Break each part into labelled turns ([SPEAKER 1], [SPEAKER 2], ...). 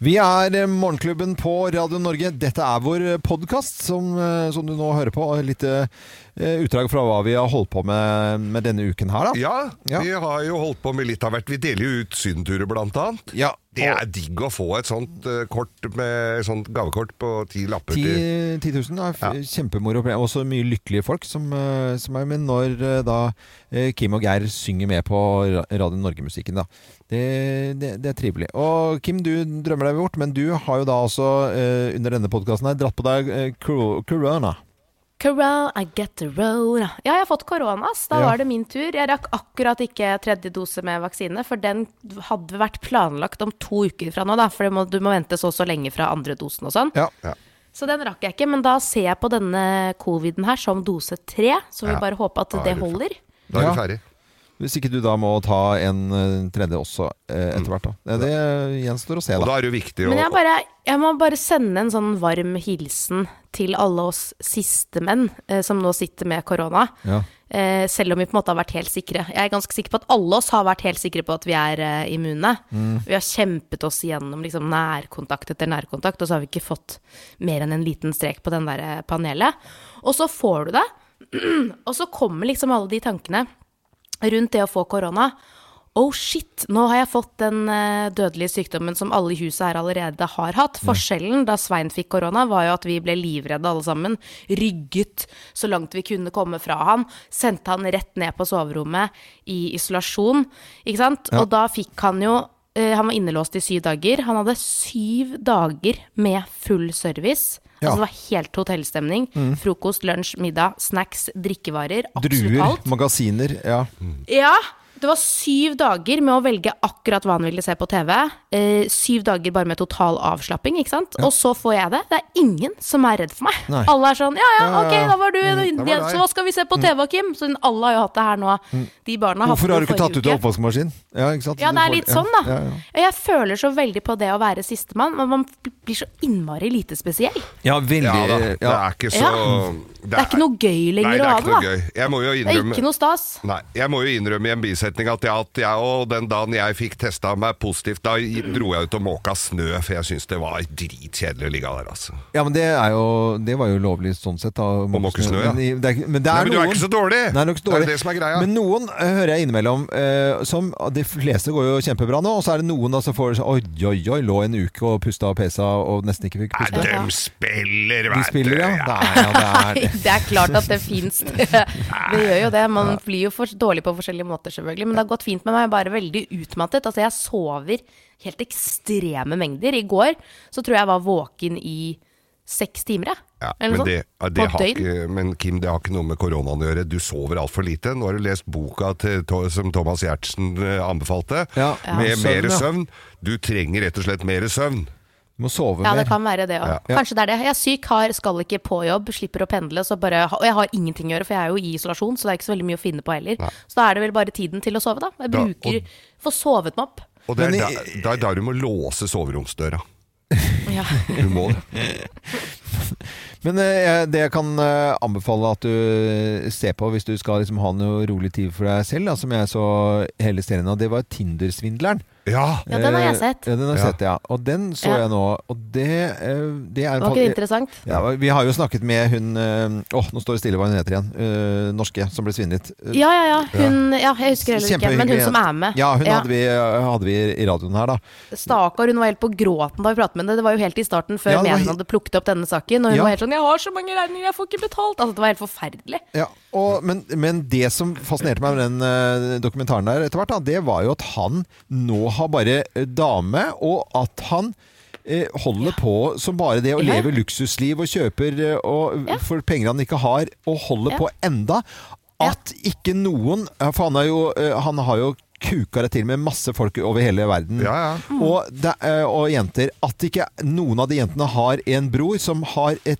[SPEAKER 1] Vi er eh, Morgenklubben på Radio Norge. Dette er vår podkast som, eh, som du nå hører på. Og Et lite eh, utdrag fra hva vi har holdt på med, med denne uken her, da.
[SPEAKER 2] Ja,
[SPEAKER 1] Ja.
[SPEAKER 2] vi har jo holdt på med litt av hvert. Vi deler jo ut sydenturer, blant annet.
[SPEAKER 1] Ja,
[SPEAKER 2] Det
[SPEAKER 1] og
[SPEAKER 2] er digg å få et sånt eh, kort med sånt gavekort på ti lapper.
[SPEAKER 1] 10
[SPEAKER 2] 10
[SPEAKER 1] 10 000 er f-
[SPEAKER 2] Ja.
[SPEAKER 1] kjempemoro. Og også mye lykkelige folk som, eh, som er med når eh, da eh, Kim og Geir synger med på Ra- Radio Norge-musikken. da. Det, det, det er trivelig. Og Kim, du drømmer deg bort, men du har jo da også eh, under denne podkasten her dratt på deg eh, kor- korona.
[SPEAKER 3] Corona, I get the road. Ja, jeg har fått korona, ass. Da
[SPEAKER 1] Ja.
[SPEAKER 3] var det min tur. Jeg rakk akkurat ikke tredje dose med vaksine, for den hadde vært planlagt om to uker fra nå, da. For det må, du må vente så og så lenge fra andre dosen og sånn.
[SPEAKER 1] Ja.
[SPEAKER 3] Så den rakk jeg ikke, men da ser jeg på denne coviden her som dose tre, så vi
[SPEAKER 2] Ja.
[SPEAKER 3] bare håper at
[SPEAKER 2] Da er
[SPEAKER 3] det
[SPEAKER 2] du fer-
[SPEAKER 3] holder.
[SPEAKER 2] Da er
[SPEAKER 1] Ja.
[SPEAKER 2] du ferdig.
[SPEAKER 1] Hvis ikke du da må ta en eh, tredje også eh, etter hvert, da. Eh, Det gjenstår å se,
[SPEAKER 2] Og
[SPEAKER 1] da.
[SPEAKER 2] da er det jo viktig å
[SPEAKER 3] Men jeg, bare, jeg må bare sende en sånn varm hilsen til alle oss sistemenn eh, som nå sitter med korona.
[SPEAKER 1] Ja.
[SPEAKER 3] Eh, selv om vi på en måte har vært helt sikre. Jeg er ganske sikker på at alle oss har vært helt sikre på at vi er eh, immune. Vi har kjempet oss gjennom liksom, nærkontakt etter nærkontakt, og så har vi ikke fått mer enn en liten strek på den der eh, panelet. Og så får du det, og så kommer liksom alle de tankene rundt det å få korona. Oh shit, nå har jeg fått den eh, dødelige sykdommen som alle i huset her allerede har hatt. Forskjellen da Svein fikk korona, var jo at vi ble livredde alle sammen. Rygget så langt vi kunne komme fra han. Sendte han rett ned på soverommet i isolasjon, ikke sant. Og da fikk han jo eh, Han var innelåst i syv dager. Han hadde syv dager med full service.
[SPEAKER 1] Ja. Mm.
[SPEAKER 3] Altså det var helt hotellstemning. Frokost, lunsj, middag, snacks, drikkevarer. Absolutt
[SPEAKER 1] Druer,
[SPEAKER 3] alt.
[SPEAKER 1] magasiner. Ja.
[SPEAKER 3] Ja, det var syv dager med å velge akkurat hva han ville se på TV. Eh, syv dager bare med total avslapping, ikke sant. Og så får jeg det. Det er ingen som er redd for meg.
[SPEAKER 1] Nei.
[SPEAKER 3] Alle er sånn ja ja,
[SPEAKER 1] Ja, ja,
[SPEAKER 3] ok,
[SPEAKER 1] ja.
[SPEAKER 3] da var du en
[SPEAKER 2] da var
[SPEAKER 3] indianer,
[SPEAKER 2] deg.
[SPEAKER 3] så hva skal vi se på TV, Kim? Så alle har jo hatt det her nå. De barna har
[SPEAKER 1] Hvorfor har du
[SPEAKER 3] hatt det
[SPEAKER 1] ikke tatt ut
[SPEAKER 3] forrige
[SPEAKER 1] av
[SPEAKER 3] uke.
[SPEAKER 1] oppvaskmaskinen? Ja, ikke sant?
[SPEAKER 3] Ja,
[SPEAKER 1] Du
[SPEAKER 3] det er
[SPEAKER 1] får-
[SPEAKER 3] litt sånn,
[SPEAKER 1] ja,
[SPEAKER 3] da.
[SPEAKER 1] Ja, ja.
[SPEAKER 3] Jeg føler så veldig på det å være sistemann, men man blir så innmari lite spesiell.
[SPEAKER 1] ja veldig eh,
[SPEAKER 2] Ja da,
[SPEAKER 1] ja,
[SPEAKER 2] det er ikke så
[SPEAKER 3] Ja. Det er ikke noe gøy
[SPEAKER 2] Nei,
[SPEAKER 3] lenger
[SPEAKER 2] det er
[SPEAKER 3] å ha
[SPEAKER 2] ikke
[SPEAKER 3] det,
[SPEAKER 2] noe
[SPEAKER 3] da.
[SPEAKER 2] gøy. Jeg må jo
[SPEAKER 3] Det er
[SPEAKER 2] innrømme
[SPEAKER 3] ikke noe stas.
[SPEAKER 2] Nei, jeg må jo innrømme i en bisetning at jeg, at jeg og den dagen jeg fikk testa meg positivt, da dro jeg ut og måka snø, for jeg syns det var dritkjedelig å ligge der, altså.
[SPEAKER 1] ja, men det, er jo, det var jo lovlig sånn sett. Da, å
[SPEAKER 2] måke snø, ja.
[SPEAKER 1] Men, i- det er, ikke- men det
[SPEAKER 2] Nei,
[SPEAKER 1] er
[SPEAKER 2] men du
[SPEAKER 1] noen,
[SPEAKER 2] er ikke så dårlig!
[SPEAKER 1] Nei, det er ikke så dårlig.
[SPEAKER 2] Det er jo det som er greia.
[SPEAKER 1] Men noen eh, hører jeg innimellom eh, som De fleste går jo kjempebra nå, og så er det noen da som får sånn Oi, oi, oi, lå en uke og pusta og pesa og nesten ikke fikk
[SPEAKER 2] Nei,
[SPEAKER 1] puste.
[SPEAKER 3] Ja.
[SPEAKER 2] de spiller,
[SPEAKER 1] De
[SPEAKER 2] vet
[SPEAKER 1] spiller, ja. Det er, ja, det
[SPEAKER 3] Nei,
[SPEAKER 1] er.
[SPEAKER 3] det er klart at det fins. Det, det gjør jo det. Man blir jo for dårlig på forskjellige måter, selvfølgelig. Men det har gått fint med meg. Jeg er bare veldig utmattet. Altså, jeg sover helt ekstreme mengder. I går så tror jeg jeg var våken i seks timer, jeg.
[SPEAKER 2] Ja,
[SPEAKER 3] Eller
[SPEAKER 2] men,
[SPEAKER 3] noe
[SPEAKER 2] det,
[SPEAKER 3] sånt.
[SPEAKER 2] ja, det
[SPEAKER 3] På
[SPEAKER 2] har
[SPEAKER 3] døgn.
[SPEAKER 2] ikke, men Kim, det har ikke noe med koronaen å gjøre. Du sover altfor lite. Nå har du lest boka til, To- som Thomas Giertsen eh, anbefalte,
[SPEAKER 1] Ja. Ja.
[SPEAKER 2] med
[SPEAKER 1] Søvn,
[SPEAKER 2] mer
[SPEAKER 1] ja.
[SPEAKER 2] søvn. Du trenger rett og slett mer søvn.
[SPEAKER 1] Du må sove
[SPEAKER 3] Ja,
[SPEAKER 1] mer.
[SPEAKER 3] det kan være det òg.
[SPEAKER 1] Ja.
[SPEAKER 3] Kanskje det er det. Jeg er syk, har, skal ikke på jobb, slipper å pendle. Så bare, og jeg har ingenting å gjøre, for jeg er jo i isolasjon, så det er ikke så veldig mye å finne på heller. Så da er det vel bare tiden til å sove, da. Jeg
[SPEAKER 2] Da-
[SPEAKER 3] bruker Får sovet meg opp.
[SPEAKER 2] Og det er
[SPEAKER 1] Men i-
[SPEAKER 2] da, da er da du må låse soveromsdøra.
[SPEAKER 3] Ja.
[SPEAKER 2] Du må det.
[SPEAKER 1] Men eh, jeg- det jeg kan eh, anbefale at du eh, ser på hvis du skal liksom ha noe rolig tid for deg selv, da, som jeg så hele serien av, det var Tinder-svindleren.
[SPEAKER 2] Ja!
[SPEAKER 3] Ja, den har jeg
[SPEAKER 1] Eh,
[SPEAKER 3] sett.
[SPEAKER 1] Ja, den har jeg
[SPEAKER 2] Ja.
[SPEAKER 1] sett, ja. Og den så
[SPEAKER 3] Ja.
[SPEAKER 1] jeg nå, og det, eh, det er en
[SPEAKER 3] Var ikke det interessant?
[SPEAKER 1] Ja, vi har jo snakket med hun eh, Åh, nå står det stille hva hun heter igjen. Eh, norske, som ble svindlet. Eh,
[SPEAKER 3] Ja, ja, ja. Hun, ja jeg husker heller ikke, men hun
[SPEAKER 1] kjempehyggelig
[SPEAKER 3] som
[SPEAKER 1] jente.
[SPEAKER 3] er med.
[SPEAKER 1] Ja, hun Hadde, vi, eh, hadde vi i radioen her, da.
[SPEAKER 3] Stakkar, hun var helt på gråten da vi pratet med henne. Det var jo helt i starten, før
[SPEAKER 1] Ja, det var
[SPEAKER 3] mediene
[SPEAKER 1] he-
[SPEAKER 3] hadde plukket opp denne saken. Og hun
[SPEAKER 1] Ja.
[SPEAKER 3] var helt sånn 'Jeg har så mange regninger, jeg får ikke betalt'. Altså, det var helt forferdelig.
[SPEAKER 1] Ja, og, men, men det som fascinerte meg med den eh, dokumentaren der etter hvert, da, det var jo at han nå har bare eh, dame, og at han eh, holder på som bare det, og
[SPEAKER 3] Ja.
[SPEAKER 1] lever luksusliv og kjøper eh, og,
[SPEAKER 3] Ja.
[SPEAKER 1] for penger han ikke har, og holder
[SPEAKER 3] Ja.
[SPEAKER 1] på enda. At ikke noen For han, er jo, eh, han har jo kuka det til med masse folk over hele verden.
[SPEAKER 2] Ja, ja.
[SPEAKER 3] Mm.
[SPEAKER 1] Og, det, eh, og jenter. At ikke noen av de jentene har en bror som har et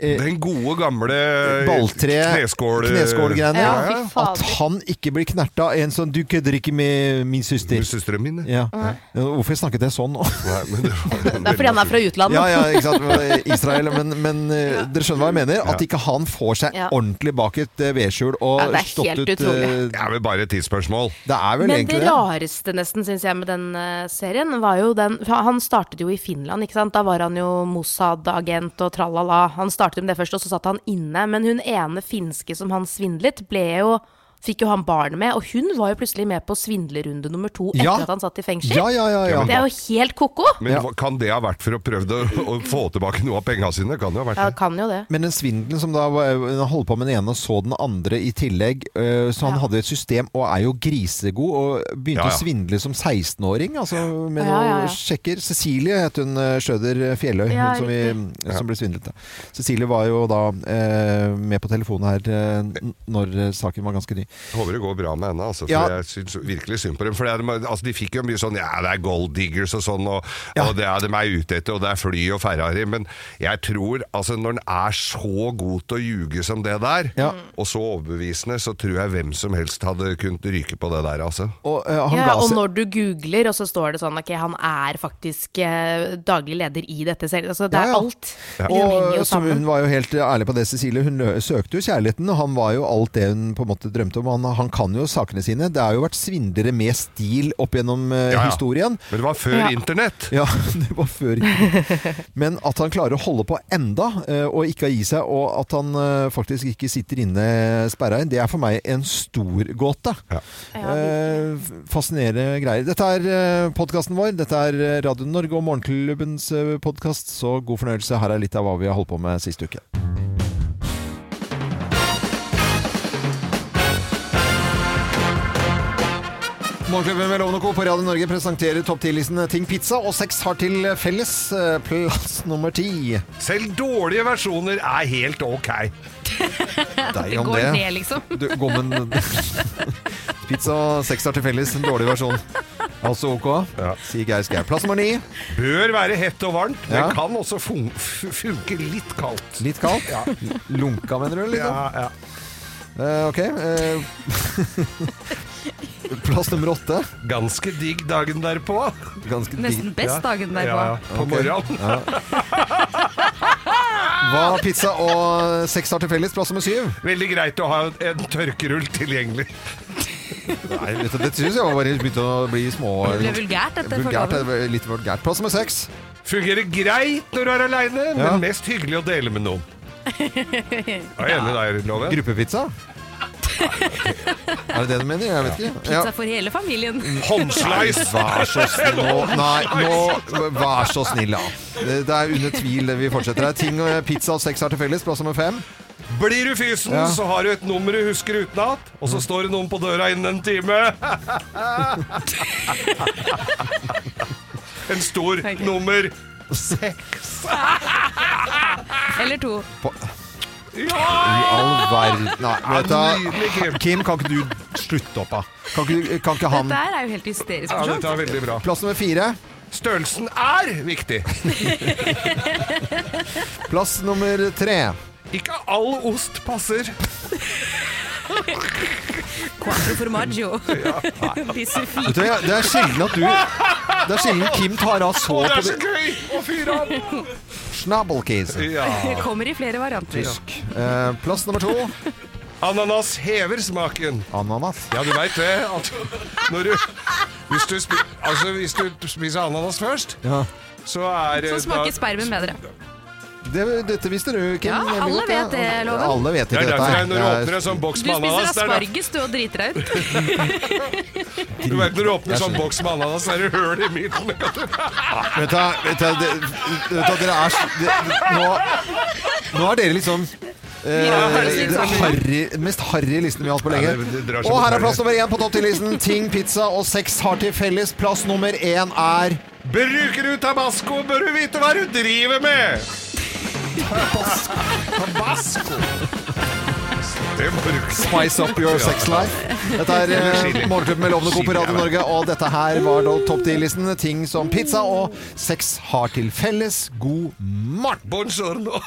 [SPEAKER 1] eh,
[SPEAKER 2] Den gode, gamle eh,
[SPEAKER 1] balltre,
[SPEAKER 2] kneskål...
[SPEAKER 1] kneskålgreiene.
[SPEAKER 3] Ja,
[SPEAKER 1] Eh, ja.
[SPEAKER 3] fy fader.
[SPEAKER 1] At han ikke blir knerta av en sånn 'du kødder ikke med min søster'.
[SPEAKER 2] Søsteren min. det.
[SPEAKER 1] Ja. Ja, Hvorfor snakket jeg sånn nå?
[SPEAKER 2] Nei, men det var-
[SPEAKER 3] Det er fordi han er fra utlandet.
[SPEAKER 1] Ja, ja, ikke sant. Israel. Men, men eh, dere skjønner hva jeg mener? At ikke han får seg
[SPEAKER 3] Ja.
[SPEAKER 1] ordentlig bak et eh, vedskjul og
[SPEAKER 3] Ja, det er
[SPEAKER 1] stått
[SPEAKER 3] helt
[SPEAKER 1] ut eh,
[SPEAKER 3] utrolig.
[SPEAKER 2] Det er vel bare et tidsspørsmål.
[SPEAKER 1] Det er vel
[SPEAKER 3] Men
[SPEAKER 4] Men det
[SPEAKER 1] egentlig det.
[SPEAKER 4] rareste nesten, syns jeg, med den eh, serien, var jo den for Han startet jo i Finland, ikke sant. Da var han jo Mossad-agent og tralala. Han startet med det først, og så satt han inne. Men hun ene finske som han svindlet, ble jo Fikk jo han barn med, og hun var jo plutselig med på svindlerunde nummer to etter
[SPEAKER 1] Ja.
[SPEAKER 4] at han satt i fengsel.
[SPEAKER 1] Ja, ja, ja. ja.
[SPEAKER 4] Det er jo helt ko-ko!
[SPEAKER 2] Men
[SPEAKER 1] Ja.
[SPEAKER 2] hva- kan det ha vært for å prøve å, å få tilbake noe av penga sine? Kan det ha vært
[SPEAKER 4] Ja,
[SPEAKER 2] det?
[SPEAKER 4] kan jo det.
[SPEAKER 1] Men den svindelen som da var- hun holdt på med den ene og så den andre i tillegg, øh, så han
[SPEAKER 4] Ja.
[SPEAKER 1] hadde et system og er jo grisegod og begynte
[SPEAKER 2] Ja, ja.
[SPEAKER 1] å svindle som 16-åring, altså med
[SPEAKER 4] Ja, ja, ja.
[SPEAKER 1] noen sjekker. Cecilie het hun øh, Schjøder Fjelløy,
[SPEAKER 4] Ja,
[SPEAKER 1] hun som, vi, som ble svindlet. da. Cecilie var jo da eh, med på telefonen her eh, n- når eh, saken var ganske ny.
[SPEAKER 2] Jeg Håper det går bra med henne. Altså, for
[SPEAKER 1] Ja.
[SPEAKER 2] Jeg syns virkelig synd på dem. For det er, altså, de fikk jo mye sånn Ja, det er gold diggers og sånn, og,
[SPEAKER 1] Ja.
[SPEAKER 2] og det er de er ute etter, og det er fly og Ferrari. Men jeg tror altså når en er så god til å ljuge som det der,
[SPEAKER 1] Ja.
[SPEAKER 2] og så overbevisende, så tror jeg hvem som helst hadde kunnet ryke på det der, altså.
[SPEAKER 1] Og, eh, han
[SPEAKER 4] Ja,
[SPEAKER 1] ga
[SPEAKER 4] ja, og
[SPEAKER 1] seg-
[SPEAKER 4] når du googler, og så står det sånn Ok, han er faktisk eh, daglig leder i dette selv. Altså, det
[SPEAKER 1] Ja,
[SPEAKER 4] er
[SPEAKER 1] ja.
[SPEAKER 4] alt. Det henger jo
[SPEAKER 1] Og som
[SPEAKER 4] sammen.
[SPEAKER 1] hun var jo helt ærlig på det, Cecilie. Hun lø- søkte jo kjærligheten, og han var jo alt det hun på en måte drømte om. Han, han kan jo sakene sine. Det har jo vært svindlere med stil opp gjennom eh,
[SPEAKER 2] Ja, ja.
[SPEAKER 1] historien.
[SPEAKER 2] Men det var før
[SPEAKER 4] Ja.
[SPEAKER 2] internett!
[SPEAKER 1] Ja, det var før. Men at han klarer å holde på enda, eh, og ikke gi seg, og at han eh, faktisk ikke sitter inne sperra inn, det er for meg en stor gåte.
[SPEAKER 2] Ja.
[SPEAKER 4] Ja,
[SPEAKER 1] Eh, Fascinerende greier. Dette er podkasten vår. Dette er eh, Radio Norge og Morgenklubbens podkast, så god fornøyelse. Her er litt av hva vi har holdt på med sist uke. Morgenklubben med Loven og Co. på Radio Norge presenterer topp 10-listen Ting Pizza og Sex har til felles eh, plass nummer ti.
[SPEAKER 2] Selv dårlige versjoner er helt ok.
[SPEAKER 1] Deg
[SPEAKER 4] Går ned, liksom.
[SPEAKER 1] Du, gommen Pizza og sex har til felles, en dårlig versjon. Altså ok,
[SPEAKER 2] Ja.
[SPEAKER 1] sier Geir Skau. Plass nummer ni.
[SPEAKER 2] Bør være hett og varmt, men
[SPEAKER 1] Ja.
[SPEAKER 2] kan også fun f- funke litt kaldt.
[SPEAKER 1] Litt kaldt? Lunka, mener du? Liksom?
[SPEAKER 2] Ja, ja.
[SPEAKER 1] Eh, ok. eh. plass nummer åtte.
[SPEAKER 2] Ganske digg dagen derpå.
[SPEAKER 1] Ganske digg.
[SPEAKER 3] Nesten best dagen derpå.
[SPEAKER 2] Ja, ja. På
[SPEAKER 1] Ok.
[SPEAKER 2] morgenen.
[SPEAKER 1] Hva pizza og sex har til felles? Plass nummer syv.
[SPEAKER 2] Veldig greit å ha en tørkerull tilgjengelig.
[SPEAKER 1] Nei, vet du, det syns jeg var bare begynte å bli små
[SPEAKER 3] Det ble vulgært etter
[SPEAKER 1] Vulgært,
[SPEAKER 3] forloven.
[SPEAKER 1] eh, Litt vulgært. Plass nummer seks.
[SPEAKER 2] Fungerer greit når du er aleine,
[SPEAKER 1] Ja.
[SPEAKER 2] men mest hyggelig å dele med noen. Jeg er enig der, Loven.
[SPEAKER 1] Gruppepizza. Er det det du mener? Jeg vet ikke. Ja.
[SPEAKER 3] Pizza for hele familien.
[SPEAKER 2] Håndslice!
[SPEAKER 1] Vær så snill nå. Nei, nå Vær så snill, da. Det det er under tvil vi fortsetter her. Ting og pizza og sex har til felles. Plass nummer fem.
[SPEAKER 2] Blir du fysen,
[SPEAKER 1] Ja.
[SPEAKER 2] så har du et nummer du husker utenat, og så står det noen på døra innen en time. En stor
[SPEAKER 3] Ok.
[SPEAKER 2] nummer seks.
[SPEAKER 3] Eller to.
[SPEAKER 1] I
[SPEAKER 2] Ja!
[SPEAKER 1] all verden Nei, vet
[SPEAKER 2] nydelig,
[SPEAKER 1] du,
[SPEAKER 2] Kim.
[SPEAKER 1] Kim, kan ikke du slutte opp, da? Kan ikke, du- kan ikke han
[SPEAKER 3] Dette her er jo helt hysterisk
[SPEAKER 2] ja!
[SPEAKER 3] morsomt.
[SPEAKER 2] Dette er veldig bra.
[SPEAKER 1] Plass nummer fire.
[SPEAKER 2] Størrelsen er viktig.
[SPEAKER 1] Plass nummer tre.
[SPEAKER 2] Ikke all ost passer.
[SPEAKER 3] Quattro formaggio. Disse
[SPEAKER 1] Vet du,
[SPEAKER 3] fire.
[SPEAKER 1] hva, det er sjelden at du Det er sjelden Kim tar av så
[SPEAKER 2] Å, det
[SPEAKER 1] på
[SPEAKER 2] er så
[SPEAKER 1] det.
[SPEAKER 2] gøy å fyre opp!
[SPEAKER 1] Schnabbelkis.
[SPEAKER 2] Ja.
[SPEAKER 3] Kommer i flere varianter.
[SPEAKER 1] Tysk. Eh, plass nummer to.
[SPEAKER 2] Ananas hever smaken.
[SPEAKER 1] Ananas.
[SPEAKER 2] Ja, du veit det. At når du, hvis, du spi, altså, hvis du spiser ananas først,
[SPEAKER 1] Ja.
[SPEAKER 2] så er det
[SPEAKER 3] Så
[SPEAKER 2] da-
[SPEAKER 3] smaker spermen bedre.
[SPEAKER 1] Det, dette visste du, Kim.
[SPEAKER 3] Ja,
[SPEAKER 1] veldig
[SPEAKER 3] alle
[SPEAKER 1] godt, ja.
[SPEAKER 3] vet det, Loven.
[SPEAKER 1] Alle vet
[SPEAKER 2] Det
[SPEAKER 1] ikke
[SPEAKER 2] er
[SPEAKER 1] dette.
[SPEAKER 2] derfor jeg, når du
[SPEAKER 1] her.
[SPEAKER 2] åpner en sånn boks
[SPEAKER 3] Du
[SPEAKER 2] med
[SPEAKER 3] spiser
[SPEAKER 2] ananas det er da-
[SPEAKER 3] asparges du og driter deg ut.
[SPEAKER 1] Jeg-
[SPEAKER 2] Du vet når du åpner
[SPEAKER 1] Jeg
[SPEAKER 2] en sånn
[SPEAKER 1] skjønner.
[SPEAKER 2] boks med ananas, så er det høl i midten.
[SPEAKER 1] Vet du, hva, vet du, hva, det- vet du hva, dere er så- det- nå, nå er dere liksom
[SPEAKER 2] det
[SPEAKER 1] Eh,
[SPEAKER 3] sånn.
[SPEAKER 2] er
[SPEAKER 1] harry, mest harry listen vi har hatt på lenge.
[SPEAKER 2] Ja, det- det drar seg
[SPEAKER 1] Og
[SPEAKER 2] mot
[SPEAKER 1] her er
[SPEAKER 2] harry.
[SPEAKER 1] plass nummer én på topp 10-listen. Ting, pizza og sex har til felles. Plass nummer én er
[SPEAKER 2] Bruker du tabasco, bør du vite hva du driver med! Tabasco? Det brukes.
[SPEAKER 1] Spice up your sex life. Dette er eh, Morgenklubben med Lovende Co på Radio Norge, og dette her var da topp 10-listen. Ting som pizza og sex har til felles. God morgen!
[SPEAKER 2] Buongiorno.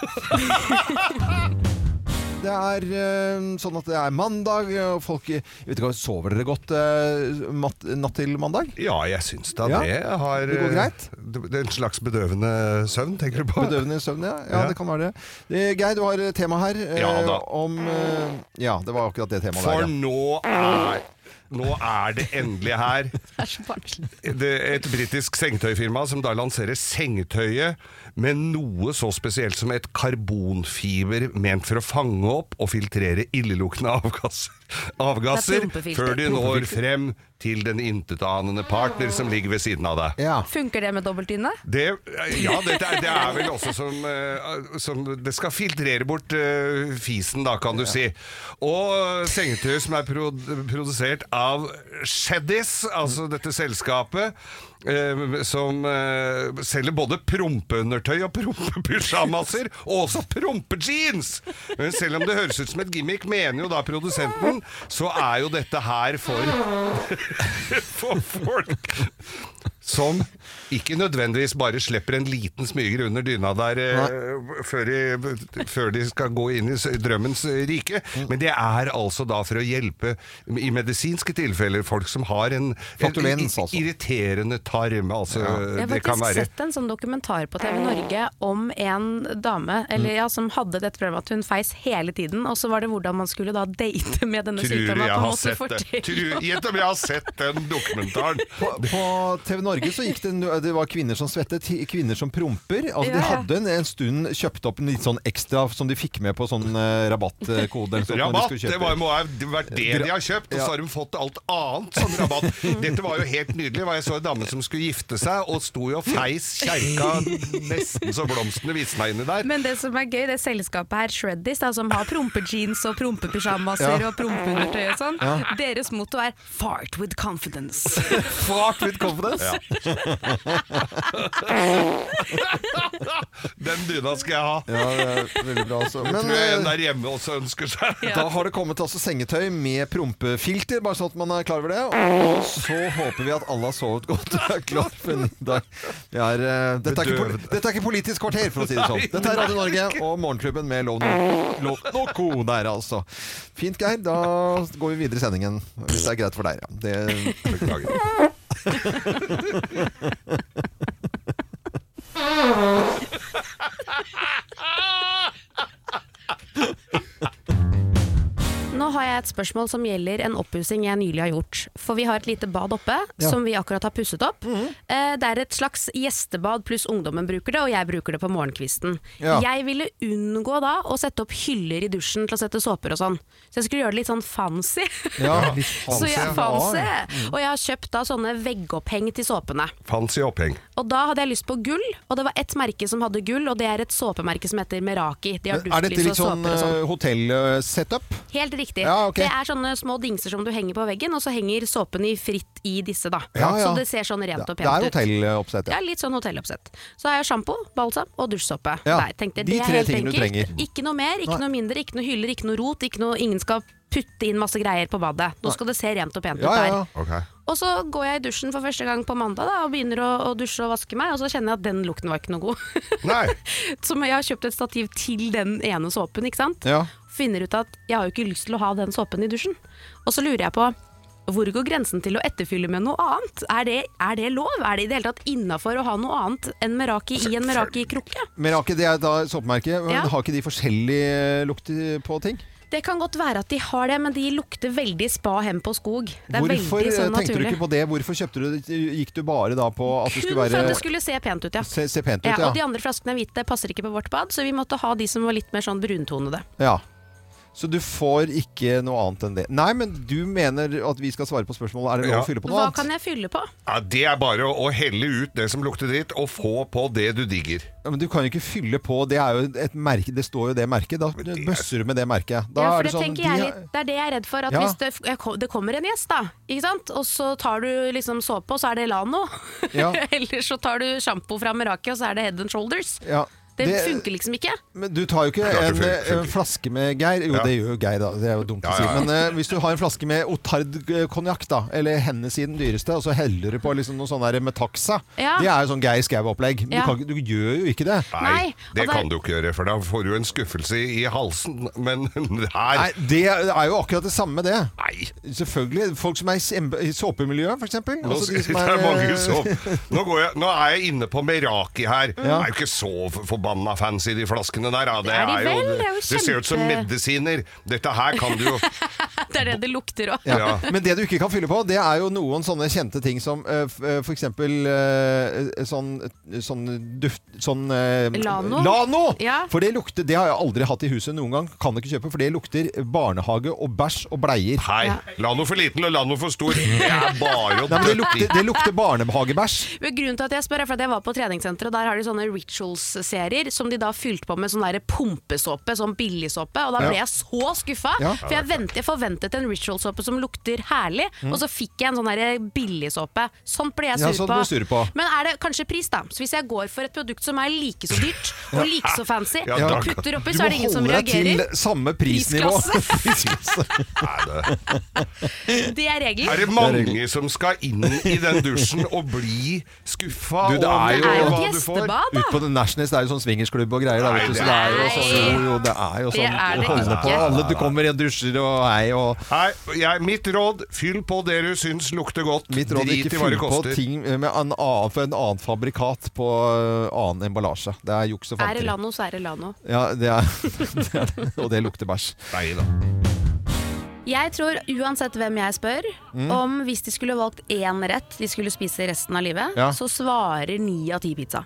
[SPEAKER 1] Det er eh, sånn at det er mandag, og folk jeg vet ikke, hva, Sover dere godt eh, matt, natt til mandag?
[SPEAKER 2] Ja, jeg syns da
[SPEAKER 1] Ja,
[SPEAKER 2] det. Jeg har,
[SPEAKER 1] det går greit.
[SPEAKER 2] eh, Det er en slags bedøvende søvn, tenker du på?
[SPEAKER 1] Bedøvende søvn, ja. ja.
[SPEAKER 2] Ja.
[SPEAKER 1] Det kan være det. Eh, Geir, du har tema her eh,
[SPEAKER 2] Ja da.
[SPEAKER 1] om eh, Ja, det var akkurat det temaet
[SPEAKER 2] For
[SPEAKER 1] der.
[SPEAKER 2] nå er Nå er det endelig her.
[SPEAKER 3] Det er så barnslig.
[SPEAKER 2] det, et britisk sengetøyfirma som da lanserer sengetøyet med noe så spesielt som et karbonfiber ment for å fange opp og filtrere illeluktende avgasser,
[SPEAKER 3] Det
[SPEAKER 2] avgasser
[SPEAKER 3] er prompefilter.
[SPEAKER 2] før de når frem til den intetanende partner som ligger ved siden av deg.
[SPEAKER 1] Ja.
[SPEAKER 3] Funker det med dobbeltdyne?
[SPEAKER 2] Det, ja, det, det, er, det er vel også som, eh, som Det skal filtrere bort eh, fisen, da, kan du si. Og sengetøy som er pro produsert av Sheddis, altså dette selskapet. eh, som eh, selger både prompeundertøy og prompepysjamaser, og også prompejeans! Men selv om det høres ut som et gimmick, mener jo da produsenten, så er jo dette her for for folk som ikke nødvendigvis bare slipper en liten smyger under dyna der eh, før, de, før de skal gå inn i s- drømmens eh, rike. Men det er altså da for å hjelpe i medisinske tilfeller folk som har en, en
[SPEAKER 1] Flatulens, altså.
[SPEAKER 2] irriterende tarm. Altså,
[SPEAKER 3] Jeg har
[SPEAKER 2] det kan
[SPEAKER 3] faktisk
[SPEAKER 2] være
[SPEAKER 3] sett en sånn dokumentar på TV Norge om en dame
[SPEAKER 2] Mm.
[SPEAKER 3] eller, ja, som hadde dette problemet at hun feis hele tiden, og så var det hvordan man skulle da date med denne
[SPEAKER 2] Tror jeg
[SPEAKER 3] sykdommen. at man
[SPEAKER 2] har
[SPEAKER 3] måtte
[SPEAKER 2] sett det.
[SPEAKER 3] fortelle
[SPEAKER 2] Tror, gjett om jeg har sett den dokumentaren!
[SPEAKER 1] På, på TV Norge så gikk det Det var kvinner som svettet, ti- kvinner som promper. Altså De
[SPEAKER 3] Ja, ja.
[SPEAKER 1] hadde en, en stund kjøpt opp en litt sånn ekstra som de fikk med på sånn eh, rabattkode. eller sånt når de
[SPEAKER 2] Rabatt!
[SPEAKER 1] skulle kjøpe.
[SPEAKER 2] Det var, må ha vært det de har kjøpt, og så har de fått alt annet som rabatt. Dette var jo helt nydelig. hva Jeg så en dame som skulle gifte seg, og sto jo og feis kjerka nesten så blomstene visna inni der.
[SPEAKER 3] Men det som er gøy, det selskapet her, Shreddis, da, som har prompejeans og prompepysjamaser
[SPEAKER 1] Ja.
[SPEAKER 3] og prompeundertøy og sånn, deres motto er 'fart with confidence'.
[SPEAKER 1] Fart with confidence!
[SPEAKER 2] Den dyna skal jeg ha.
[SPEAKER 1] Ja, det er veldig bra altså. Men
[SPEAKER 2] Tror jeg en
[SPEAKER 1] eh,
[SPEAKER 2] der hjemme også ønsker seg.
[SPEAKER 1] da har det kommet altså sengetøy med prompefilter, bare sånn at man er klar over det. Og så håper vi at alle har sovet godt og er klar for en ny dag. Det er, eh, dette, er ikke, poli- dette er ikke Politisk kvarter, for å si det sånn. Dette er Radio Norge og Morgenklubben med Lov No- Lov Noco der, altså. Fint, Geir. Da går vi videre i sendingen. Hvis det er greit for deg, ja. Det
[SPEAKER 2] Beklager.
[SPEAKER 3] Nå har jeg et spørsmål som gjelder en oppussing jeg nylig har gjort. For vi har et lite bad oppe,
[SPEAKER 1] Ja. Mhm.
[SPEAKER 3] som vi akkurat har pusset opp. Eh, Det er et slags gjestebad, pluss ungdommen bruker det, og jeg bruker det på morgenkvisten.
[SPEAKER 1] Ja.
[SPEAKER 3] Jeg ville unngå da å sette opp hyller i dusjen til å sette såper og sånn. Så jeg skulle gjøre det litt sånn fancy.
[SPEAKER 1] Ja, litt
[SPEAKER 3] Så
[SPEAKER 1] fancy.
[SPEAKER 3] jeg fancy. Og jeg har kjøpt da sånne veggoppheng til såpene.
[SPEAKER 2] Fancy oppheng.
[SPEAKER 3] Og da hadde jeg lyst på gull, og det var ett merke som hadde gull, og det er et såpemerke som heter Meraki. De har
[SPEAKER 1] Er dette
[SPEAKER 3] duftlys
[SPEAKER 1] litt
[SPEAKER 3] og
[SPEAKER 1] sånn
[SPEAKER 3] såper og sånn.
[SPEAKER 1] eh, hotell-setup?
[SPEAKER 3] Helt riktig.
[SPEAKER 1] Ja, ok.
[SPEAKER 3] Det er sånne små dingser som du henger på veggen, og så henger såpen i fritt i disse, da.
[SPEAKER 1] Ja, ja.
[SPEAKER 3] Så det ser sånn rent
[SPEAKER 1] Det
[SPEAKER 3] og
[SPEAKER 1] det er
[SPEAKER 3] pent ut.
[SPEAKER 1] hotelloppsett, ja.
[SPEAKER 3] Ja, litt sånn hotelloppsett. Så har jeg sjampo, balsam og dusjsåpe.
[SPEAKER 1] Ja,
[SPEAKER 3] Der, tenkte jeg,
[SPEAKER 1] de
[SPEAKER 3] det er
[SPEAKER 1] tre
[SPEAKER 3] helt
[SPEAKER 1] tingene du
[SPEAKER 3] enkelt.
[SPEAKER 1] trenger.
[SPEAKER 3] Ikke noe mer, ikke
[SPEAKER 1] Nei.
[SPEAKER 3] noe mindre, ikke noe hyller, ikke noe rot. Ikke noe, ingen skal putte inn masse greier på badet. Nå skal det se rent og pent
[SPEAKER 1] Ja,
[SPEAKER 3] ut
[SPEAKER 1] ja,
[SPEAKER 3] der.
[SPEAKER 1] ja.
[SPEAKER 2] Ok.
[SPEAKER 3] Og så går jeg i dusjen for første gang på mandag da, og begynner å, å dusje og vaske meg, og så kjenner jeg at den lukten var ikke noe god.
[SPEAKER 2] Nei.
[SPEAKER 3] så jeg har kjøpt et stativ til den ene såpen, ikke sant?
[SPEAKER 1] Ja.
[SPEAKER 3] Finner ut at jeg har jo ikke lyst til å ha den såpen i dusjen. Og så lurer jeg på hvor går grensen til å etterfylle med noe annet? Er det, er det lov? Er det i det hele tatt innafor å ha noe annet enn Meraki i en Meraki-krukke?
[SPEAKER 1] Meraki, det er da såpemerket. men
[SPEAKER 3] Ja.
[SPEAKER 1] Har ikke de forskjellige lukter på ting?
[SPEAKER 3] Det kan godt være at de har det, men de lukter veldig spa hem på skog. Det er
[SPEAKER 1] Hvorfor
[SPEAKER 3] veldig sånn
[SPEAKER 1] eh, tenkte du
[SPEAKER 3] naturlig.
[SPEAKER 1] ikke på det? Hvorfor kjøpte du det? Gikk du bare da på at det
[SPEAKER 3] Kun
[SPEAKER 1] skulle
[SPEAKER 3] for at
[SPEAKER 1] være
[SPEAKER 3] det skulle se pent ut, ja.
[SPEAKER 1] se, se pent ut?
[SPEAKER 3] Ja,
[SPEAKER 1] Ja.
[SPEAKER 3] og de andre flaskene er hvite, passer ikke på vårt bad, så vi måtte ha de som var litt mer sånn bruntonede.
[SPEAKER 1] ja. Så du får ikke noe annet enn det. Nei, men du mener at vi skal svare på spørsmålet. Er det lov
[SPEAKER 2] Ja.
[SPEAKER 1] å fylle på noe
[SPEAKER 3] Hva
[SPEAKER 1] annet?
[SPEAKER 3] kan jeg fylle på?
[SPEAKER 2] Ja, det er bare å, å helle ut det som lukter dritt, og få på det du digger.
[SPEAKER 1] Ja, Men du kan jo ikke fylle på. Det er jo et merke. Det står jo det merket. Da
[SPEAKER 2] det er-
[SPEAKER 1] bøsser du med det merket. Da
[SPEAKER 3] ja, for
[SPEAKER 1] er
[SPEAKER 3] det,
[SPEAKER 1] det sånn
[SPEAKER 3] tenker jeg
[SPEAKER 1] de-
[SPEAKER 3] litt, det er det jeg er redd for. At
[SPEAKER 1] Ja.
[SPEAKER 3] hvis det, jeg kom- det kommer en gjest, da, ikke sant? og så tar du liksom såpe, og så er det Lano.
[SPEAKER 1] Ja.
[SPEAKER 3] Eller så tar du sjampo fra Meraki, og så er det Head and Shoulders.
[SPEAKER 1] ja.
[SPEAKER 3] Det, funker liksom ikke.
[SPEAKER 1] Men du tar jo ikke
[SPEAKER 2] Klart det
[SPEAKER 1] en,
[SPEAKER 2] funker, funker.
[SPEAKER 1] en flaske med Geir. Jo,
[SPEAKER 2] Ja.
[SPEAKER 1] det gjør jo Geir, da. Det er jo dumt
[SPEAKER 2] Ja,
[SPEAKER 1] å si.
[SPEAKER 2] ja, ja.
[SPEAKER 1] Men eh, hvis du har en flaske med Otard eh, konjakk, da, eller hennes i den dyreste, og så heller du på liksom noe sånn der med taxa,
[SPEAKER 3] Ja.
[SPEAKER 1] det er jo sånn Geir Skau-opplegg. Men
[SPEAKER 3] Ja.
[SPEAKER 1] du, kan, ikke- du gjør jo ikke det.
[SPEAKER 3] Nei, og
[SPEAKER 2] det
[SPEAKER 1] altså-
[SPEAKER 3] der-
[SPEAKER 2] kan du ikke gjøre, for da får du en skuffelse i halsen. Men her
[SPEAKER 1] Nei, det er jo akkurat det samme, det.
[SPEAKER 2] Nei.
[SPEAKER 1] Selvfølgelig. Folk som er i sem- i såpemiljøet, Altså, f.eks.
[SPEAKER 2] Nå,
[SPEAKER 1] eh,
[SPEAKER 2] det er mange som, nå, går jeg, nå er jeg inne på Meraki her. Det er jo ikke så for- forbanna fancy, de flaskene der. Ja. Det,
[SPEAKER 4] er de vel,
[SPEAKER 2] jo,
[SPEAKER 4] det er jo
[SPEAKER 2] det ser jo ut som
[SPEAKER 4] kjempe-
[SPEAKER 2] medisiner. Dette her kan du jo
[SPEAKER 3] Det er det det lukter òg.
[SPEAKER 2] ja.
[SPEAKER 1] Men det du ikke kan fylle på, det er jo noen sånne kjente ting som eh, f- eh, for eksempel eh, sånn, sånn duft... Sånn eh,
[SPEAKER 3] Lano.
[SPEAKER 1] Lano!
[SPEAKER 3] Ja.
[SPEAKER 1] For det lukter Det har jeg aldri hatt i huset noen gang. Kan ikke kjøpe, for det lukter barnehage og bæsj og bleier.
[SPEAKER 2] Hei, la noe for liten og la noe for stor. Det er bare å
[SPEAKER 1] Nei, men det
[SPEAKER 2] døtte i.
[SPEAKER 1] lukter, det lukter barnehagebæsj.
[SPEAKER 3] Men Grunnen til at jeg spør er for at jeg var på treningssenteret, og der har de sånne rituals-serier som de da fylte på med sånn der pumpesåpe, sånn billigsåpe, og da ble
[SPEAKER 1] Ja.
[SPEAKER 3] jeg så skuffa.
[SPEAKER 1] Ja.
[SPEAKER 3] For jeg, vent, jeg forventet en ritualsåpe som lukter herlig, og så fikk jeg en sånn der billigsåpe. Sånt ble jeg
[SPEAKER 1] Mm. Ja,
[SPEAKER 3] sur,
[SPEAKER 1] sånt
[SPEAKER 3] på.
[SPEAKER 1] ble du sur på.
[SPEAKER 3] Men er det kanskje pris, da? Så hvis jeg går for et produkt som er like så dyrt og like så fancy,
[SPEAKER 2] Ja, da-
[SPEAKER 3] og putter oppi,
[SPEAKER 1] Du
[SPEAKER 3] så
[SPEAKER 1] må
[SPEAKER 3] er det ingen som
[SPEAKER 1] holde deg til
[SPEAKER 3] reagerer.
[SPEAKER 1] samme prisnivå. Prisklasse.
[SPEAKER 2] Nei, det-
[SPEAKER 3] Det er regelen.
[SPEAKER 2] Er det mange som skal inn i den dusjen og bli skuffa
[SPEAKER 1] Du, det er
[SPEAKER 2] over
[SPEAKER 1] jo- Det er jo et
[SPEAKER 2] hva du får?
[SPEAKER 3] gjestebad.
[SPEAKER 1] Ut på The Nationals, det er jo sånn swingersklubb og greier. Da,
[SPEAKER 2] Nei,
[SPEAKER 1] vet du,
[SPEAKER 2] det
[SPEAKER 1] så det er jo
[SPEAKER 3] er-
[SPEAKER 1] sånn, jo, jo, det er jo
[SPEAKER 3] Det
[SPEAKER 1] sånn
[SPEAKER 3] er det
[SPEAKER 1] holder
[SPEAKER 3] ikke.
[SPEAKER 1] på. Alle du kommer og dusjer og hei og
[SPEAKER 2] Nei, jeg, mitt råd fyll på det du syns lukter godt.
[SPEAKER 1] Mitt råd er ikke fyll på ting med en annen, for en annen fabrikat på ø, annen emballasje. Det er juks og
[SPEAKER 3] Er det
[SPEAKER 1] fanteri.
[SPEAKER 3] Lano, så er det Lano.
[SPEAKER 1] Ja, det er, det er, det. og det lukter bæsj.
[SPEAKER 2] Nei da.
[SPEAKER 3] Jeg tror uansett hvem jeg spør,
[SPEAKER 1] Mm.
[SPEAKER 3] om hvis de skulle valgt én rett de skulle spise resten av livet,
[SPEAKER 1] Ja.
[SPEAKER 3] så svarer ni av ti pizza.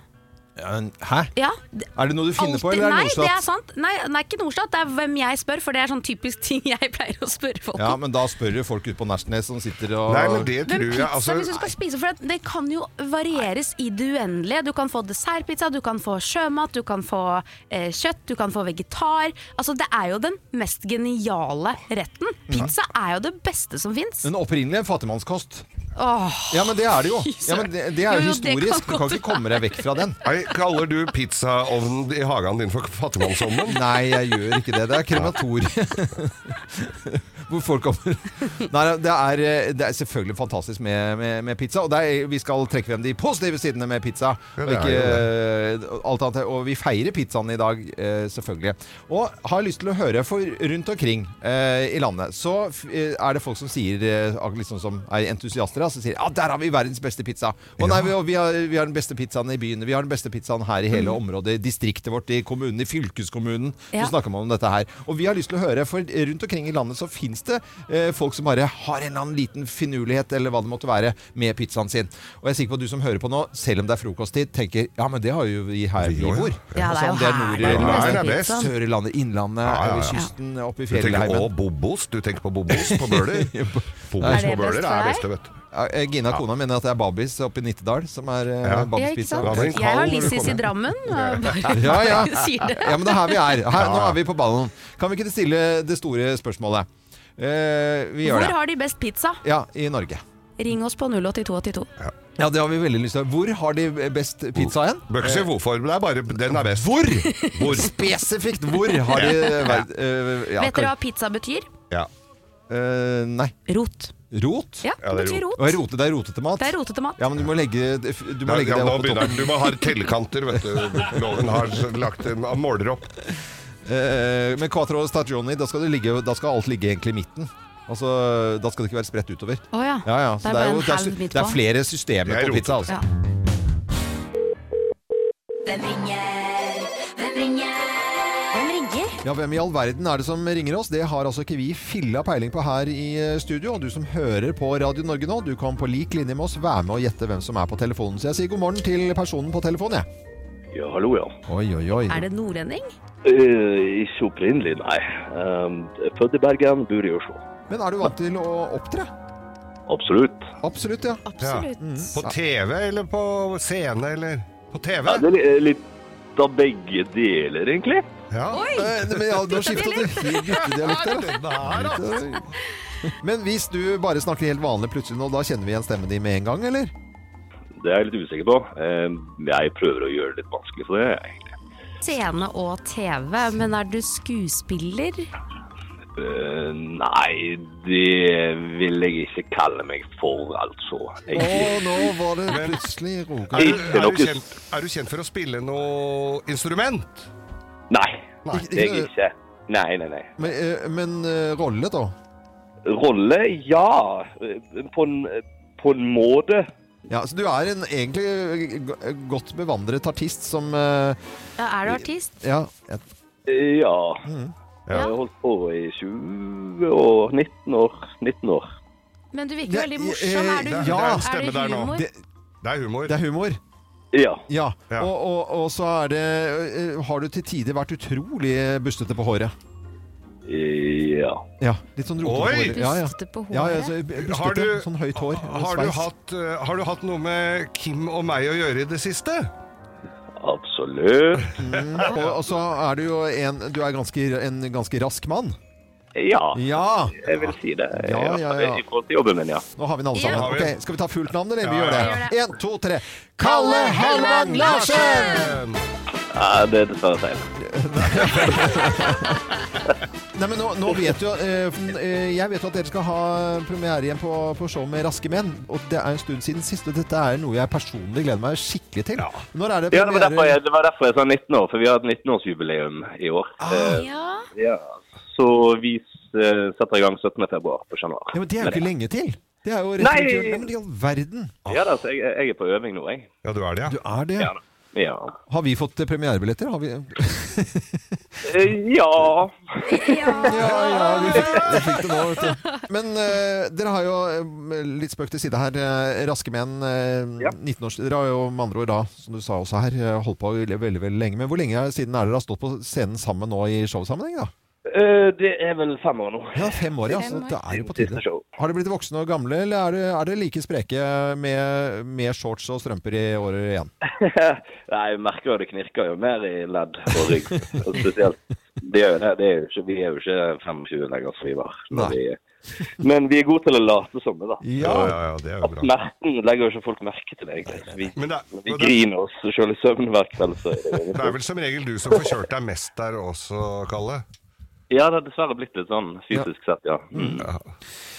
[SPEAKER 1] Ja, men, Hæ?
[SPEAKER 3] Ja, det-
[SPEAKER 1] Er det noe du finner på,
[SPEAKER 3] alltid-
[SPEAKER 1] eller er det noe
[SPEAKER 3] nei, det
[SPEAKER 1] sånt?
[SPEAKER 3] er sant. Nei, det er ikke Norstat, det er hvem jeg spør, for det er sånn typisk ting jeg pleier å spørre folk
[SPEAKER 1] Ja,
[SPEAKER 3] om.
[SPEAKER 1] men da spør du folk ute på Nærsnes som sitter og
[SPEAKER 2] Nei, men det tror
[SPEAKER 3] Men pizza, liksom.
[SPEAKER 2] jeg altså,
[SPEAKER 3] hvis du skal spise, for det, det kan jo varieres i det uendelige. Du kan få dessertpizza, du kan få sjømat, du kan få eh, kjøtt, du kan få vegetar. Altså, det er jo den mest geniale retten.
[SPEAKER 1] Mhm.
[SPEAKER 3] Pizza er jo det beste som fins.
[SPEAKER 1] Men opprinnelig en fattigmannskost.
[SPEAKER 3] Åh.
[SPEAKER 1] Ja, men det er det jo.
[SPEAKER 3] Fy
[SPEAKER 1] Ja, men det, det er
[SPEAKER 3] søren.
[SPEAKER 1] jo
[SPEAKER 3] Jo, jo, det kan
[SPEAKER 1] historisk. Du kan
[SPEAKER 3] godt
[SPEAKER 1] ikke komme deg vekk fra den.
[SPEAKER 2] Nei, Kaller du pizzaovnen i hagen din for fattigmannsovnen?
[SPEAKER 1] Nei, jeg gjør ikke det. Det er krematoriet. Hvor folk kommer Nei, det er, eh, det er selvfølgelig fantastisk med, med, med pizza. Og det er, vi skal trekke frem de positive sidene med pizza.
[SPEAKER 2] Ja,
[SPEAKER 1] og,
[SPEAKER 2] det er
[SPEAKER 1] ikke, eh, alt annet. og vi feirer pizzaen i dag, eh, selvfølgelig. Og har lyst til å høre, for rundt omkring eh, i landet så f- eh, er det folk som sier, eh, akkurat litt sånn som er entusiaster, da, som sier ja, der har vi verdens beste pizza. Og nei, vi, og vi, har, vi har den beste pizzaen i byen. Vi har den beste pizzaen her i hele området, i distriktet vårt, i kommunen, i fylkeskommunen.
[SPEAKER 3] Ja.
[SPEAKER 1] Så snakker man om dette her. Og vi har lyst til å høre, for rundt omkring i landet så fins det eh, folk som bare har en eller annen liten finurlighet, eller hva det måtte være, med pizzaen sin. Og jeg er sikker på at du som hører på nå, selv om det er frokosttid, tenker ja, men det har jo vi her vi
[SPEAKER 2] jo, ja.
[SPEAKER 1] bor.
[SPEAKER 3] Ja, det er jo
[SPEAKER 1] Sånn,
[SPEAKER 3] her
[SPEAKER 1] nord-
[SPEAKER 2] er
[SPEAKER 3] det
[SPEAKER 1] Sør-
[SPEAKER 2] best. Her er best.
[SPEAKER 3] pizzaen.
[SPEAKER 1] Sør i landet, Innlandet,
[SPEAKER 2] Ja, ja, ja.
[SPEAKER 1] over kysten, oppe i
[SPEAKER 2] Du tenker på
[SPEAKER 1] fjellheimen.
[SPEAKER 2] Bobos Du tenker på Bobos på Bøler? Bobos
[SPEAKER 3] Er
[SPEAKER 2] på
[SPEAKER 3] det best
[SPEAKER 2] Bøler
[SPEAKER 3] for
[SPEAKER 2] er
[SPEAKER 3] deg?
[SPEAKER 2] best, vet du.
[SPEAKER 1] Ja, eh, Gina, kona, mener at det er Babis oppe i Nittedal som er eh,
[SPEAKER 2] Ja.
[SPEAKER 3] Ja, ikke
[SPEAKER 1] Babis-pizza.
[SPEAKER 3] sant?
[SPEAKER 2] Ja, men
[SPEAKER 3] Jeg har
[SPEAKER 2] kald
[SPEAKER 3] Lissis i
[SPEAKER 2] velkommen.
[SPEAKER 3] Drammen. og Bare
[SPEAKER 1] Ja, ja.
[SPEAKER 3] sier det.
[SPEAKER 1] Ja, men det er her vi er. Her, nå
[SPEAKER 2] Ja.
[SPEAKER 1] er vi på ballen. Kan vi ikke stille det store spørsmålet? Eh, vi gjør
[SPEAKER 3] Hvor
[SPEAKER 1] det.
[SPEAKER 3] har de best pizza?
[SPEAKER 1] Ja, i Norge.
[SPEAKER 3] Ring oss på 08282.
[SPEAKER 1] Ja, det har vi veldig lyst til. Hvor har de best pizza hen?
[SPEAKER 2] Bør ikke si hvorfor, men det er bare den er best.
[SPEAKER 1] Hvor?
[SPEAKER 2] Hvor?
[SPEAKER 1] Spesifikt hvor har de verd... eh, ja,
[SPEAKER 3] Vet dere hva pizza betyr?
[SPEAKER 2] Ja.
[SPEAKER 1] kan- eh, Nei.
[SPEAKER 3] Rot.
[SPEAKER 1] Rot?
[SPEAKER 3] Ja,
[SPEAKER 2] Ja, det
[SPEAKER 3] det
[SPEAKER 2] er
[SPEAKER 3] betyr
[SPEAKER 2] rot.
[SPEAKER 1] Å,
[SPEAKER 3] rot.
[SPEAKER 1] rote, det er rotete mat?
[SPEAKER 3] Det er rotete mat.
[SPEAKER 1] Ja, men du må legge, du må
[SPEAKER 2] Ja,
[SPEAKER 1] legge
[SPEAKER 2] ja,
[SPEAKER 1] det
[SPEAKER 2] nå
[SPEAKER 1] opp på
[SPEAKER 2] begynner
[SPEAKER 1] toppen.
[SPEAKER 2] den. Du må ha tellekanter, vet du. Loven har lagt en han måler opp.
[SPEAKER 1] Eh, men Quatro Stagioni, da skal, det ligge, da skal alt ligge egentlig i midten. Altså, da skal det ikke være spredt utover.
[SPEAKER 3] Å ja.
[SPEAKER 1] Ja, ja. Så
[SPEAKER 3] Det er
[SPEAKER 1] det,
[SPEAKER 3] bare
[SPEAKER 1] er
[SPEAKER 3] en
[SPEAKER 1] jo, det, er,
[SPEAKER 3] halv
[SPEAKER 1] sy-
[SPEAKER 3] midt
[SPEAKER 1] det er
[SPEAKER 3] på.
[SPEAKER 1] flere systemer
[SPEAKER 2] Det er
[SPEAKER 1] på pizza. Altså.
[SPEAKER 3] Ja.
[SPEAKER 5] Hvem ringer? Hvem ringer? Hvem ringer?
[SPEAKER 1] Ja, Hvem i all verden er det som ringer oss? Det har altså ikke vi filla peiling på her i eh, studio. Og du som hører på Radio Norge nå, du kan på lik linje med oss være med og gjette hvem som er på telefonen. Så jeg sier god morgen til personen på telefonen, jeg.
[SPEAKER 6] Ja, hallo, ja.
[SPEAKER 1] Oi, oi, oi.
[SPEAKER 3] Er det nordlending?
[SPEAKER 6] Eh, ikke opprinnelig, nei. Um, jeg er født i Bergen, bor i Oslo.
[SPEAKER 1] Men er du vant til å opptre?
[SPEAKER 6] Absolutt.
[SPEAKER 1] Absolutt, ja.
[SPEAKER 3] Absolutt.
[SPEAKER 2] På TV eller på scene eller På TV?
[SPEAKER 6] Ja, det er li- eh, litt av begge deler, egentlig.
[SPEAKER 2] Ja.
[SPEAKER 1] Eh, Men ja, nå skifta du guttedialekt der. da.
[SPEAKER 2] Det er, da.
[SPEAKER 1] Men hvis du bare snakker helt vanlig plutselig nå, da kjenner vi igjen stemmen din med en gang, eller?
[SPEAKER 6] Det er jeg litt usikker på. Eh, jeg prøver å gjøre det litt vanskelig for det. Jeg
[SPEAKER 3] Scene og TV, men er du skuespiller?
[SPEAKER 6] Eh, nei, det vil jeg ikke kalle meg for, altså.
[SPEAKER 1] Å,
[SPEAKER 6] Jeg,
[SPEAKER 1] nå var det plutselig roka.
[SPEAKER 2] Er, du, er,
[SPEAKER 6] Nok-
[SPEAKER 2] du kjent, er du kjent for å spille noe instrument?
[SPEAKER 6] nei,
[SPEAKER 2] Nei.
[SPEAKER 6] jeg er ikke. Nei, nei, nei.
[SPEAKER 1] Men, eh, men eh, rolle, da?
[SPEAKER 6] Rolle, ja. Eh, På eh, en, på en måte.
[SPEAKER 1] Ja, så du er en egentlig go- godt bevandret artist som eh,
[SPEAKER 4] Ja, er du artist?
[SPEAKER 1] Ja. jeg-
[SPEAKER 6] Ja.
[SPEAKER 1] Mm.
[SPEAKER 2] Ja.
[SPEAKER 6] Jeg har holdt på i 20 år. 19 år. 19 år.
[SPEAKER 4] Men du virker jo
[SPEAKER 1] Ja,
[SPEAKER 4] veldig morsom.
[SPEAKER 1] eh,
[SPEAKER 4] Er du,
[SPEAKER 1] ja.
[SPEAKER 4] er
[SPEAKER 2] Stemme
[SPEAKER 4] det
[SPEAKER 2] der nå.
[SPEAKER 4] humor?
[SPEAKER 1] Det,
[SPEAKER 2] Det er humor.
[SPEAKER 1] det er humor.
[SPEAKER 6] Ja.
[SPEAKER 1] Ja.
[SPEAKER 2] Ja.
[SPEAKER 1] Og, og, og så er det eh, Har du til tider vært utrolig bustete på håret?
[SPEAKER 6] Ja.
[SPEAKER 1] Ja. Litt sånn rotete
[SPEAKER 2] Oi!
[SPEAKER 1] hår. Ja, ja.
[SPEAKER 7] Bustete på håret.
[SPEAKER 1] Ja, ja, så
[SPEAKER 2] Har
[SPEAKER 1] bustete,
[SPEAKER 2] du-
[SPEAKER 1] sånn høyt hår.
[SPEAKER 2] Har du,
[SPEAKER 1] sveis.
[SPEAKER 2] hatt, eh, har du hatt noe med Kim og meg å gjøre i det siste?
[SPEAKER 6] Absolutt.
[SPEAKER 1] Og, og så er du jo en Du er ganske, en ganske rask mann.
[SPEAKER 6] Ja.
[SPEAKER 1] Ja!
[SPEAKER 6] Jeg vil si det.
[SPEAKER 1] Ja, ja, ja.
[SPEAKER 6] I forhold til jobben min, ja.
[SPEAKER 1] Nå har vi den alle
[SPEAKER 2] Ja.
[SPEAKER 1] sammen. Ok, Skal vi ta fullt navn, eller? Vi
[SPEAKER 2] Ja,
[SPEAKER 1] gjør
[SPEAKER 2] ja,
[SPEAKER 1] det. Én, to, tre. Kalle Herman Larsen!
[SPEAKER 6] ja det er dessverre feil.
[SPEAKER 1] Nei, men nå, nå vet jo eh, f- eh, Jeg vet jo at dere skal ha premiere igjen på, på show med Raske menn. Og det er en stund siden sist, og dette er noe jeg personlig gleder meg skikkelig til.
[SPEAKER 2] Ja.
[SPEAKER 1] Når er det
[SPEAKER 6] Ja, det var derfor jeg, det var derfor jeg sa 19 år, for vi har hatt 19-årsjubileum i år.
[SPEAKER 1] Ah.
[SPEAKER 3] Ah,
[SPEAKER 6] Eh, ja. Så vi eh, setter i gang 17. februar på Chat Noir.
[SPEAKER 1] Ja, men Det er jo
[SPEAKER 6] Med
[SPEAKER 1] ikke lenge til. Det er jo rett
[SPEAKER 6] Nei!
[SPEAKER 1] rundt hjørnet. Ja, Men i all verden.
[SPEAKER 6] det. Ja da, så jeg, jeg er på øving nå, jeg.
[SPEAKER 2] Ja, du er det, ja.
[SPEAKER 1] Du er det.
[SPEAKER 6] Ja. da. Ja.
[SPEAKER 1] Har vi fått eh, premierebilletter? Har vi
[SPEAKER 6] Eh, ja.
[SPEAKER 1] Ja, ja, vi fikk, vi fikk det nå, vet du. Men eh, dere har jo, eh, litt spøk til side her, eh, Raske menn, eh,
[SPEAKER 6] Ja.
[SPEAKER 1] 19 års Dere har jo med andre ord da, som du sa også her, eh, holdt på veldig, veldig, veldig lenge. Men hvor lenge er- siden er dere har stått på scenen sammen nå i showsammenheng, da?
[SPEAKER 6] Eh, det er vel fem år nå.
[SPEAKER 1] Ja, fem år, ja. Så
[SPEAKER 7] Fem år.
[SPEAKER 1] det er jo på
[SPEAKER 6] Siste
[SPEAKER 1] tide.
[SPEAKER 6] show.
[SPEAKER 1] Har dere blitt voksne og gamle, eller er dere, er dere like spreke med, med shorts og strømper i året igjen?
[SPEAKER 6] Nei, jeg merker jo det knirker jo mer i ledd og rygg. Og spesielt. Det gjør jo det. det er jo ikke, vi er jo ikke 25 lenger som vi var.
[SPEAKER 1] Nei.
[SPEAKER 6] når vi- Men vi er gode til å late som det, da.
[SPEAKER 2] Ja,
[SPEAKER 1] Ja.
[SPEAKER 2] ja, ja, det er jo
[SPEAKER 6] At
[SPEAKER 2] bra.
[SPEAKER 6] Smerten legger jo ikke folk merke til, egentlig. Så Vi,
[SPEAKER 2] Men det, er-
[SPEAKER 6] vi
[SPEAKER 2] det,
[SPEAKER 6] griner oss sjøl i søvn hver kveld. Så er det jo
[SPEAKER 2] er-
[SPEAKER 6] ingenting.
[SPEAKER 2] det er vel som regel du som får kjørt deg mest der også, Kalle.
[SPEAKER 6] ja, det har dessverre blitt litt sånn fysisk sett, ja. Mm.
[SPEAKER 2] Ja.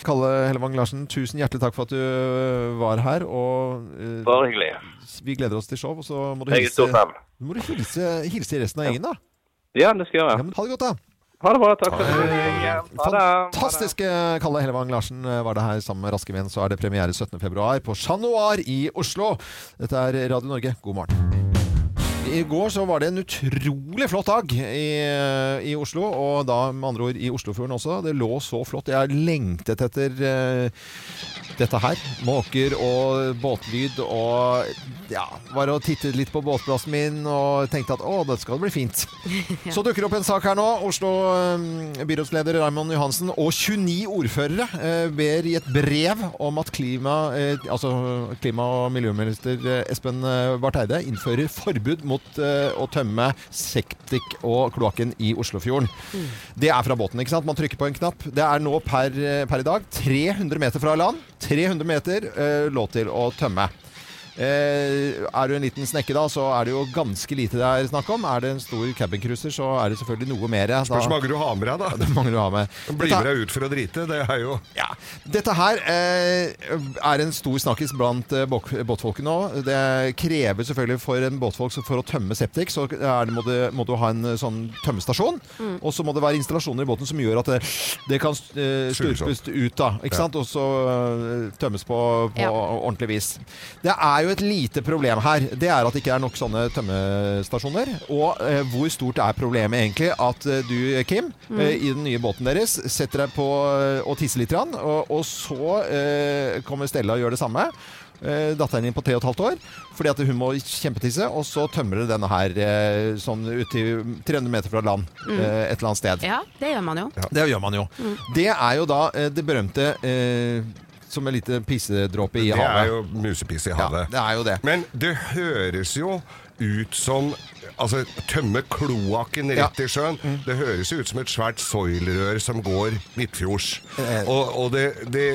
[SPEAKER 1] Kalle Hellevang Larsen, tusen hjertelig takk for at du eh, var her. Og eh,
[SPEAKER 6] Bare hyggelig.
[SPEAKER 1] vi gleder oss til show, og så må du
[SPEAKER 6] Jeg er stor
[SPEAKER 1] hilse,
[SPEAKER 6] fan.
[SPEAKER 1] må du hilse, hilse resten av gjengen, da.
[SPEAKER 6] Ja, det skal jeg
[SPEAKER 1] Ja,
[SPEAKER 6] gjøre.
[SPEAKER 1] men ha det godt, da.
[SPEAKER 6] Ha det bra. Takk for det. Ha det.
[SPEAKER 1] Fantastiske Kalle Hellevang Larsen eh, var det her sammen med Raske menn. Så er det premiere 17. februar på Chat Noir i Oslo. Dette er Radio Norge, god morgen. I går så var det en utrolig flott dag eh, i, i Oslo, og da med andre ord i Oslofjorden også. Det lå så flott. Jeg har lengtet etter eh, dette her. Måker og båtlyd og Ja, var og tittet litt på båtplassen min og tenkte at å, dette skal bli fint. Så dukker det opp en sak her nå. Oslo eh, byrådsleder Raymond Johansen og 29 ordførere eh, ber i et brev om at klima, eh, altså klima- og miljøminister eh, Espen eh, Barth Eide innfører forbud mot eh, å tømme septik og kloakken i Oslofjorden. Det er fra båten, ikke sant? Man trykker på en knapp. Det er nå per, eh, per i dag 300 meter fra land. 300 meter eh, lov til å tømme. Eh, er du en liten snekke da, så er det jo ganske lite det er snakk om. Er det en stor cabincruiser, så er det selvfølgelig noe mer. Da,
[SPEAKER 2] Hvor mange du har med deg, da?
[SPEAKER 1] det mangler du å ha med.
[SPEAKER 2] Blir med deg ut for å drite, det er jo
[SPEAKER 1] Ja. Dette her eh, er en stor snakkis blant eh, bok- båtfolket nå. Det krever selvfølgelig for en båtfolk så for å tømme septik, så er det, må, det, må du ha en eh, sånn tømmestasjon. Og så må det være installasjoner i båten som gjør at det, det kan eh,
[SPEAKER 2] Skyldes opp.
[SPEAKER 1] slurpes ut, da. Ikke sant? Og så eh, tømmes på, på
[SPEAKER 4] Ja.
[SPEAKER 1] ordentlig vis. Det er jo et lite problem her. Det er at det ikke er nok sånne tømmestasjoner. Og eh, hvor stort er problemet egentlig at eh, du, Kim, eh, i den nye båten deres setter deg på eh, og tisser litt, grann, og, og så eh, kommer Stella og gjør det samme. Eh, Datteren din på tre og et halvt år, fordi at hun må kjempetisse. Og så tømmer du denne her eh, sånn ut til 300 meter fra land eh, et eller annet sted.
[SPEAKER 3] Ja, det gjør man jo.
[SPEAKER 1] Det gjør man jo. Det er jo da eh, det berømte eh, som en liten pissedråpe i
[SPEAKER 2] Det er
[SPEAKER 1] havet.
[SPEAKER 2] jo musepiss i
[SPEAKER 1] ja,
[SPEAKER 2] havet.
[SPEAKER 1] det er jo det.
[SPEAKER 2] Men det høres jo ut som Altså, tømme kloakken
[SPEAKER 1] Ja.
[SPEAKER 2] rett
[SPEAKER 1] Mm.
[SPEAKER 2] i sjøen. Det høres jo ut som et svært soilrør som går midtfjords.
[SPEAKER 1] Eh.
[SPEAKER 2] Og, og det, det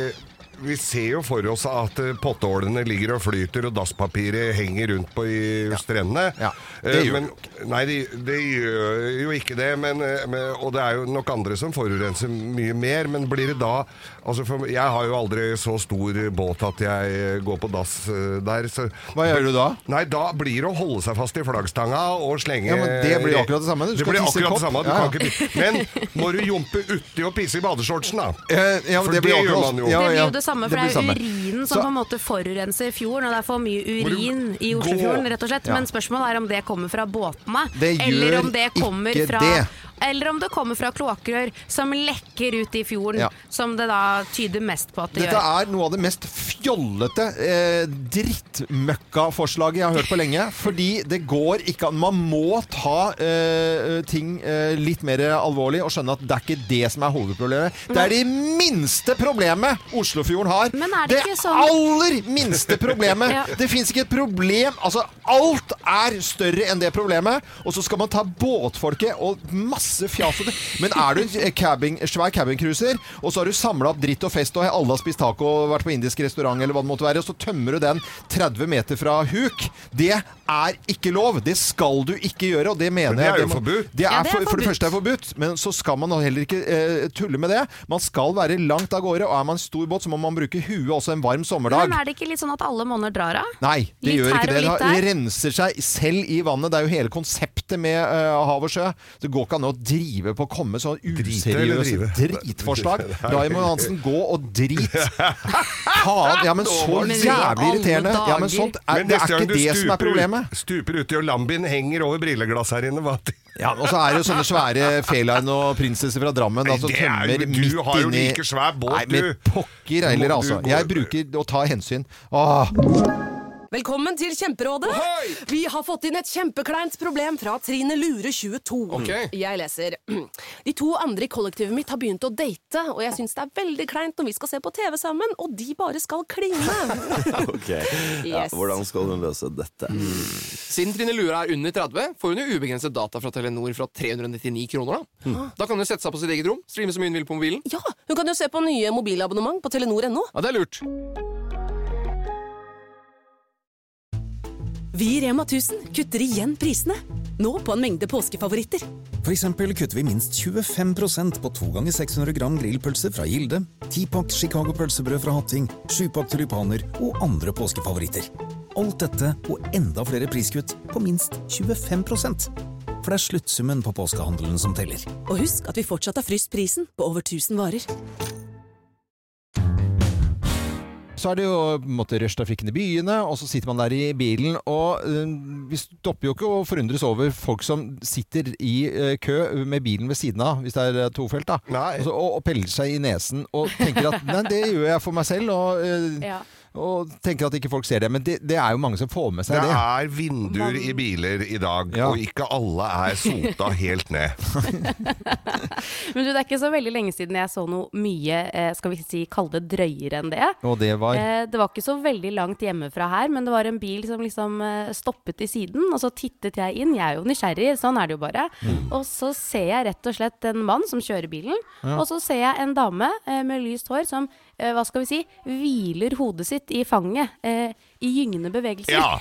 [SPEAKER 2] Vi ser jo for oss at eh, potteålene ligger og flyter, og dasspapiret henger rundt på i strendene.
[SPEAKER 1] Ja. Det
[SPEAKER 2] Eh,
[SPEAKER 1] gjør
[SPEAKER 2] men, nei, det det gjør jo ikke det. Men, eh, men, og det er jo nok andre som forurenser mye mer. Men blir det da altså for, Jeg har jo aldri så stor båt at jeg eh, går på dass eh, der. Så,
[SPEAKER 1] Hva gjør du da?
[SPEAKER 2] Nei, da blir det å holde seg fast i flaggstanga og slenge
[SPEAKER 1] Ja, men det blir jo akkurat det samme. Du
[SPEAKER 2] det
[SPEAKER 1] skal
[SPEAKER 2] blir
[SPEAKER 1] tisse i
[SPEAKER 2] akkurat
[SPEAKER 1] kopp.
[SPEAKER 2] det samme. Du
[SPEAKER 1] Ja, ja.
[SPEAKER 2] kan ikke pisse. Men må du jumpe uti og pisse i badeshortsen, da?
[SPEAKER 1] Eh, ja, men
[SPEAKER 2] For
[SPEAKER 1] det, blir
[SPEAKER 2] det gjør
[SPEAKER 1] akkurat-
[SPEAKER 2] man jo.
[SPEAKER 1] Ja,
[SPEAKER 4] Det blir
[SPEAKER 1] ja.
[SPEAKER 4] jo det
[SPEAKER 3] samme, for
[SPEAKER 1] det blir
[SPEAKER 3] det, er jo
[SPEAKER 1] samme.
[SPEAKER 3] urinen
[SPEAKER 1] Så-
[SPEAKER 3] som på en måte forurenser fjorden, og det er for mye urin i
[SPEAKER 2] Gå.
[SPEAKER 3] Oslofjorden, rett og slett.
[SPEAKER 1] Ja.
[SPEAKER 3] Men spørsmålet er om det kommer fra båtene,
[SPEAKER 1] Det
[SPEAKER 3] eller
[SPEAKER 1] gjør
[SPEAKER 3] om det kommer
[SPEAKER 1] ikke
[SPEAKER 3] fra
[SPEAKER 1] det.
[SPEAKER 3] Eller om det kommer fra kloakkrør som lekker ut i fjorden,
[SPEAKER 1] Ja.
[SPEAKER 3] som det da tyder mest på at det
[SPEAKER 1] Dette
[SPEAKER 3] gjør.
[SPEAKER 1] er noe av det mest fjollete eh, drittmøkkaforslaget jeg har hørt på lenge. Fordi det går ikke an. Man må ta eh, ting eh, litt mer alvorlig og skjønne at det er ikke det som er hovedproblemet. Det er det minste problemet Oslofjorden har.
[SPEAKER 3] Men er det ikke sånn-
[SPEAKER 1] aller minste problemet.
[SPEAKER 3] Ja.
[SPEAKER 1] Det fins ikke et problem. Altså, alt er større enn det problemet. Og så skal man ta båtfolket og masse fjas. og det- Men er du en cabin, svær cabincruiser, og så har du samla opp dritt og fest, og alle har spist taco og vært på indisk restaurant, eller hva det måtte være, og så tømmer du den 30 meter fra huk, det er ikke lov. Det skal du ikke gjøre, og det mener jeg.
[SPEAKER 2] det er jo
[SPEAKER 1] må-
[SPEAKER 2] forbudt.
[SPEAKER 1] Det er,
[SPEAKER 3] Ja, det er
[SPEAKER 1] for, for det
[SPEAKER 3] forbudt.
[SPEAKER 1] første er forbudt, men så skal man da heller ikke eh, tulle med det. Man skal være langt av gårde, og er man stor båt, så må man bruke huet også en varm sommerdag.
[SPEAKER 3] Men er det ikke litt sånn at alle monner drar av?
[SPEAKER 1] Nei, det
[SPEAKER 3] Litt
[SPEAKER 1] gjør
[SPEAKER 3] her
[SPEAKER 1] ikke det.
[SPEAKER 3] og litt
[SPEAKER 1] Det
[SPEAKER 3] der.
[SPEAKER 1] renser seg selv i vannet. Det er jo hele konseptet med eh, hav og sjø. Det går ikke an å drive på å komme sånn
[SPEAKER 2] Drite eller
[SPEAKER 1] useriøse
[SPEAKER 2] drive?
[SPEAKER 1] dritforslag. Raymond Hansen, gå og drit! Faen! Ja, men så
[SPEAKER 3] Men i
[SPEAKER 1] jævlig
[SPEAKER 3] alle
[SPEAKER 1] irriterende. Ja, men
[SPEAKER 3] dager.
[SPEAKER 1] sånt er,
[SPEAKER 2] Men
[SPEAKER 1] det
[SPEAKER 2] neste
[SPEAKER 1] er
[SPEAKER 2] gang
[SPEAKER 1] ikke
[SPEAKER 2] du
[SPEAKER 1] det som er
[SPEAKER 2] stuper ut-
[SPEAKER 1] problemet.
[SPEAKER 2] Stuper uti og lambien henger over brilleglasset her inne. Hva?
[SPEAKER 1] Ja, og så er det jo sånne svære feline og prinsesser fra Drammen da,
[SPEAKER 2] Nei,
[SPEAKER 1] som
[SPEAKER 2] det er jo-
[SPEAKER 1] tømmer midt inni
[SPEAKER 2] du har jo like svær båt,
[SPEAKER 1] Nei, men
[SPEAKER 2] du.
[SPEAKER 1] pokker heller,
[SPEAKER 2] Må du
[SPEAKER 1] altså.
[SPEAKER 2] gå-
[SPEAKER 1] Jeg bruker å ta hensyn. Åh.
[SPEAKER 7] Velkommen til Kjemperådet. Vi har fått inn et kjempekleint problem fra Trine Lure 22.
[SPEAKER 2] Ok.
[SPEAKER 7] Jeg leser. De to andre i kollektivet mitt har begynt å date, og jeg syns det er veldig kleint når vi skal se på TV sammen, og de bare skal kline.
[SPEAKER 8] Ok, ja,
[SPEAKER 7] Yes.
[SPEAKER 8] Hvordan skal hun løse dette?
[SPEAKER 9] Siden Trine Lura er under 30, får hun jo ubegrenset data fra Telenor fra 399 kroner. Da Da kan hun sette seg på sitt eget rom, streame så mye hun vil på mobilen.
[SPEAKER 7] Ja, hun kan jo se på nye mobilabonnement på telenor.no.
[SPEAKER 9] Ja, det er lurt.
[SPEAKER 7] Vi i Rema 1000 kutter igjen prisene. Nå på en mengde påskefavoritter.
[SPEAKER 10] For eksempel kutter vi minst 25 på 2 ganger 600 gram grillpølse fra Gilde, 10-pakk Chicago pølsebrød fra Hatting, 7-pakk tulipaner og andre påskefavoritter. Alt dette og enda flere priskutt på minst 25 For det er sluttsummen på påskehandelen som teller.
[SPEAKER 7] Og husk at vi fortsatt har fryst prisen på over 1000 varer.
[SPEAKER 1] Så er det jo på en måte rushtrafikken i byene, og så sitter man der i bilen. Og eh, vi stopper jo ikke å forundres over folk som sitter i eh, kø med bilen ved siden av, hvis det er eh, tofelt, da.
[SPEAKER 2] Nei.
[SPEAKER 1] Og, så, og, og peller seg i nesen og tenker at nei, det gjør jeg for meg selv. Og, eh,
[SPEAKER 3] Ja.
[SPEAKER 1] og tenker at ikke folk ser det. Men det, det er jo mange som får med seg
[SPEAKER 2] Det
[SPEAKER 1] det.
[SPEAKER 2] er vinduer i biler i dag,
[SPEAKER 1] Ja.
[SPEAKER 2] og ikke alle er sota helt ned.
[SPEAKER 4] Men du, det er ikke så veldig lenge siden jeg så noe mye, eh, skal vi si, kalle det drøyere enn det.
[SPEAKER 1] Og det var
[SPEAKER 4] Eh, det var ikke så veldig langt hjemmefra her, men det var en bil som liksom eh, stoppet i siden, og så tittet jeg inn. Jeg er jo nysgjerrig, sånn er det jo bare. Og så ser jeg rett og slett en mann som kjører bilen, og så ser jeg en dame eh, med lyst hår som, eh, hva skal vi si, hviler hodet sitt i fanget eh, i gyngende bevegelser.
[SPEAKER 2] Ja,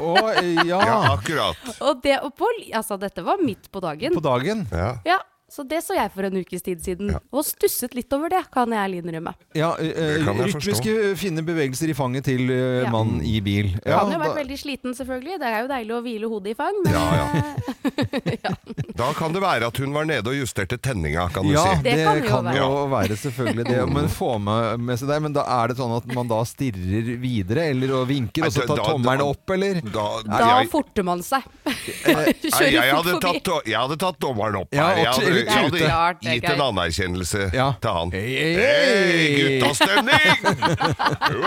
[SPEAKER 1] Og eh, ja,
[SPEAKER 2] ja akkurat.
[SPEAKER 4] Og det og på, altså dette var midt på dagen.
[SPEAKER 1] på dagen.
[SPEAKER 2] Ja.
[SPEAKER 4] Ja, så det så jeg for en ukes tid siden, og stusset litt over det, kan jeg ærlig innrømme.
[SPEAKER 1] Ja, eh,
[SPEAKER 2] Det kan jeg
[SPEAKER 1] rytmiske fine bevegelser i fanget til eh,
[SPEAKER 4] Ja.
[SPEAKER 1] mannen i bil. Ja,
[SPEAKER 4] Han har jo vært
[SPEAKER 1] da-
[SPEAKER 4] veldig sliten, selvfølgelig. Det er jo deilig å hvile hodet i fang, men eh,
[SPEAKER 2] Ja, Da kan det være at hun var nede og justerte tenninga, kan du
[SPEAKER 1] Ja,
[SPEAKER 2] si.
[SPEAKER 1] det,
[SPEAKER 4] Det
[SPEAKER 1] kan,
[SPEAKER 4] kan jo være.
[SPEAKER 1] jo være selvfølgelig det. Men få med, med seg det. Men da er det sånn at man da stirrer videre, eller og vinker, og så
[SPEAKER 2] Nei, da-
[SPEAKER 1] tar
[SPEAKER 2] da-
[SPEAKER 1] tommelen opp, eller?
[SPEAKER 2] Da,
[SPEAKER 4] da
[SPEAKER 2] jeg-
[SPEAKER 4] forter man seg.
[SPEAKER 1] Eh,
[SPEAKER 2] Nei,
[SPEAKER 4] Kjører fort
[SPEAKER 2] jeg, hadde
[SPEAKER 4] forbi.
[SPEAKER 2] tatt, jeg hadde tatt dommeren opp
[SPEAKER 1] Ja,
[SPEAKER 2] her.
[SPEAKER 1] og
[SPEAKER 2] Jeg hadde,
[SPEAKER 1] eller
[SPEAKER 2] jeg hadde
[SPEAKER 4] Klart
[SPEAKER 1] tute.
[SPEAKER 4] det er
[SPEAKER 2] gitt en
[SPEAKER 4] greit.
[SPEAKER 2] anerkjennelse
[SPEAKER 1] Ja.
[SPEAKER 2] til han.
[SPEAKER 1] Hei,
[SPEAKER 2] Hei,
[SPEAKER 1] hei, hei!
[SPEAKER 2] guttastemning!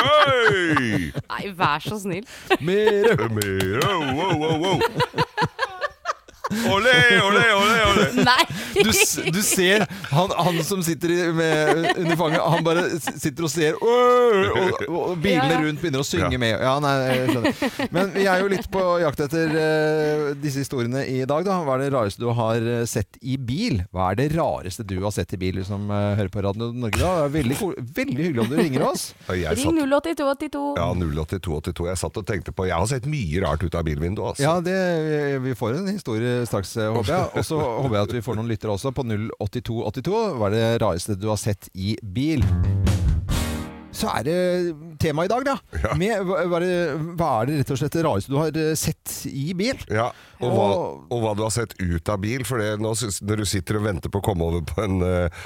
[SPEAKER 2] Hei!
[SPEAKER 4] Nei, vær så snill.
[SPEAKER 1] Mere.
[SPEAKER 2] Mer, oh, oh, oh, oh. Olé, olé, olé, olé!
[SPEAKER 4] Nei!
[SPEAKER 1] Du, s- du ser han, han som sitter i, med, under fanget, han bare s- sitter og ser «Åh!» og, og bilene
[SPEAKER 4] Ja, ja.
[SPEAKER 1] rundt begynner å synge
[SPEAKER 2] Ja.
[SPEAKER 1] med. Ja, nei, jeg skjønner. Men vi er jo litt på jakt etter eh, disse historiene i dag, da. Hva er det rareste du har eh, sett i bil? Hva er det rareste du har sett i bil, du som eh, hører på Radio Norge da? Det er veldig, ko- veldig hyggelig om du ringer oss.
[SPEAKER 2] Og Jeg
[SPEAKER 4] Ring
[SPEAKER 2] satt,
[SPEAKER 4] 08282.
[SPEAKER 2] ja, 08282. Jeg satt og tenkte på Jeg har sett mye rart ut av bilvinduet, altså.
[SPEAKER 1] Ja, det, vi får en historie straks, eh, håper jeg. Og så håper jeg at vi får noen lyttere også på 08282. Hva er det rareste du har sett i bil? så er det tema i dag, da. Med, hva, hva er det, hva er det rett og slett det rareste du har eh, sett i bil?
[SPEAKER 2] Ja, og hva, og hva du har sett ut av bil. For det, nå, syns- når du sitter og venter på å komme over på en eh,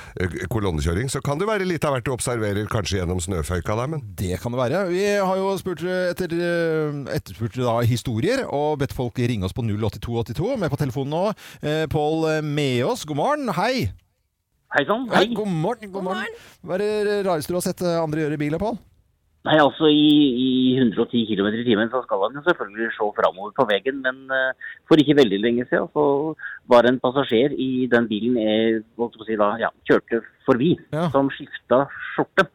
[SPEAKER 2] kolonnekjøring, så kan det være litt av hvert du observerer, kanskje gjennom snøføyka der, men
[SPEAKER 1] Det kan det være. Vi har jo spurt eh, etter, eh, etterspurt da historier og bedt folk ringe oss på 08282. Med på telefonen nå, eh, Pål eh, Meås. God morgen. Hei.
[SPEAKER 11] Hei sann.
[SPEAKER 1] Hei. God morgen. God morgen. Hva er det rareste du har sett eh, andre gjøre i bil, da, Pål?
[SPEAKER 11] Nei, altså i, i 110 km i timen så skal han jo selvfølgelig se framover på veien, men eh, for ikke veldig lenge siden så var det en passasjer i den bilen jeg holdt på å si da, ja, kjørte forbi, som skifta skjorte.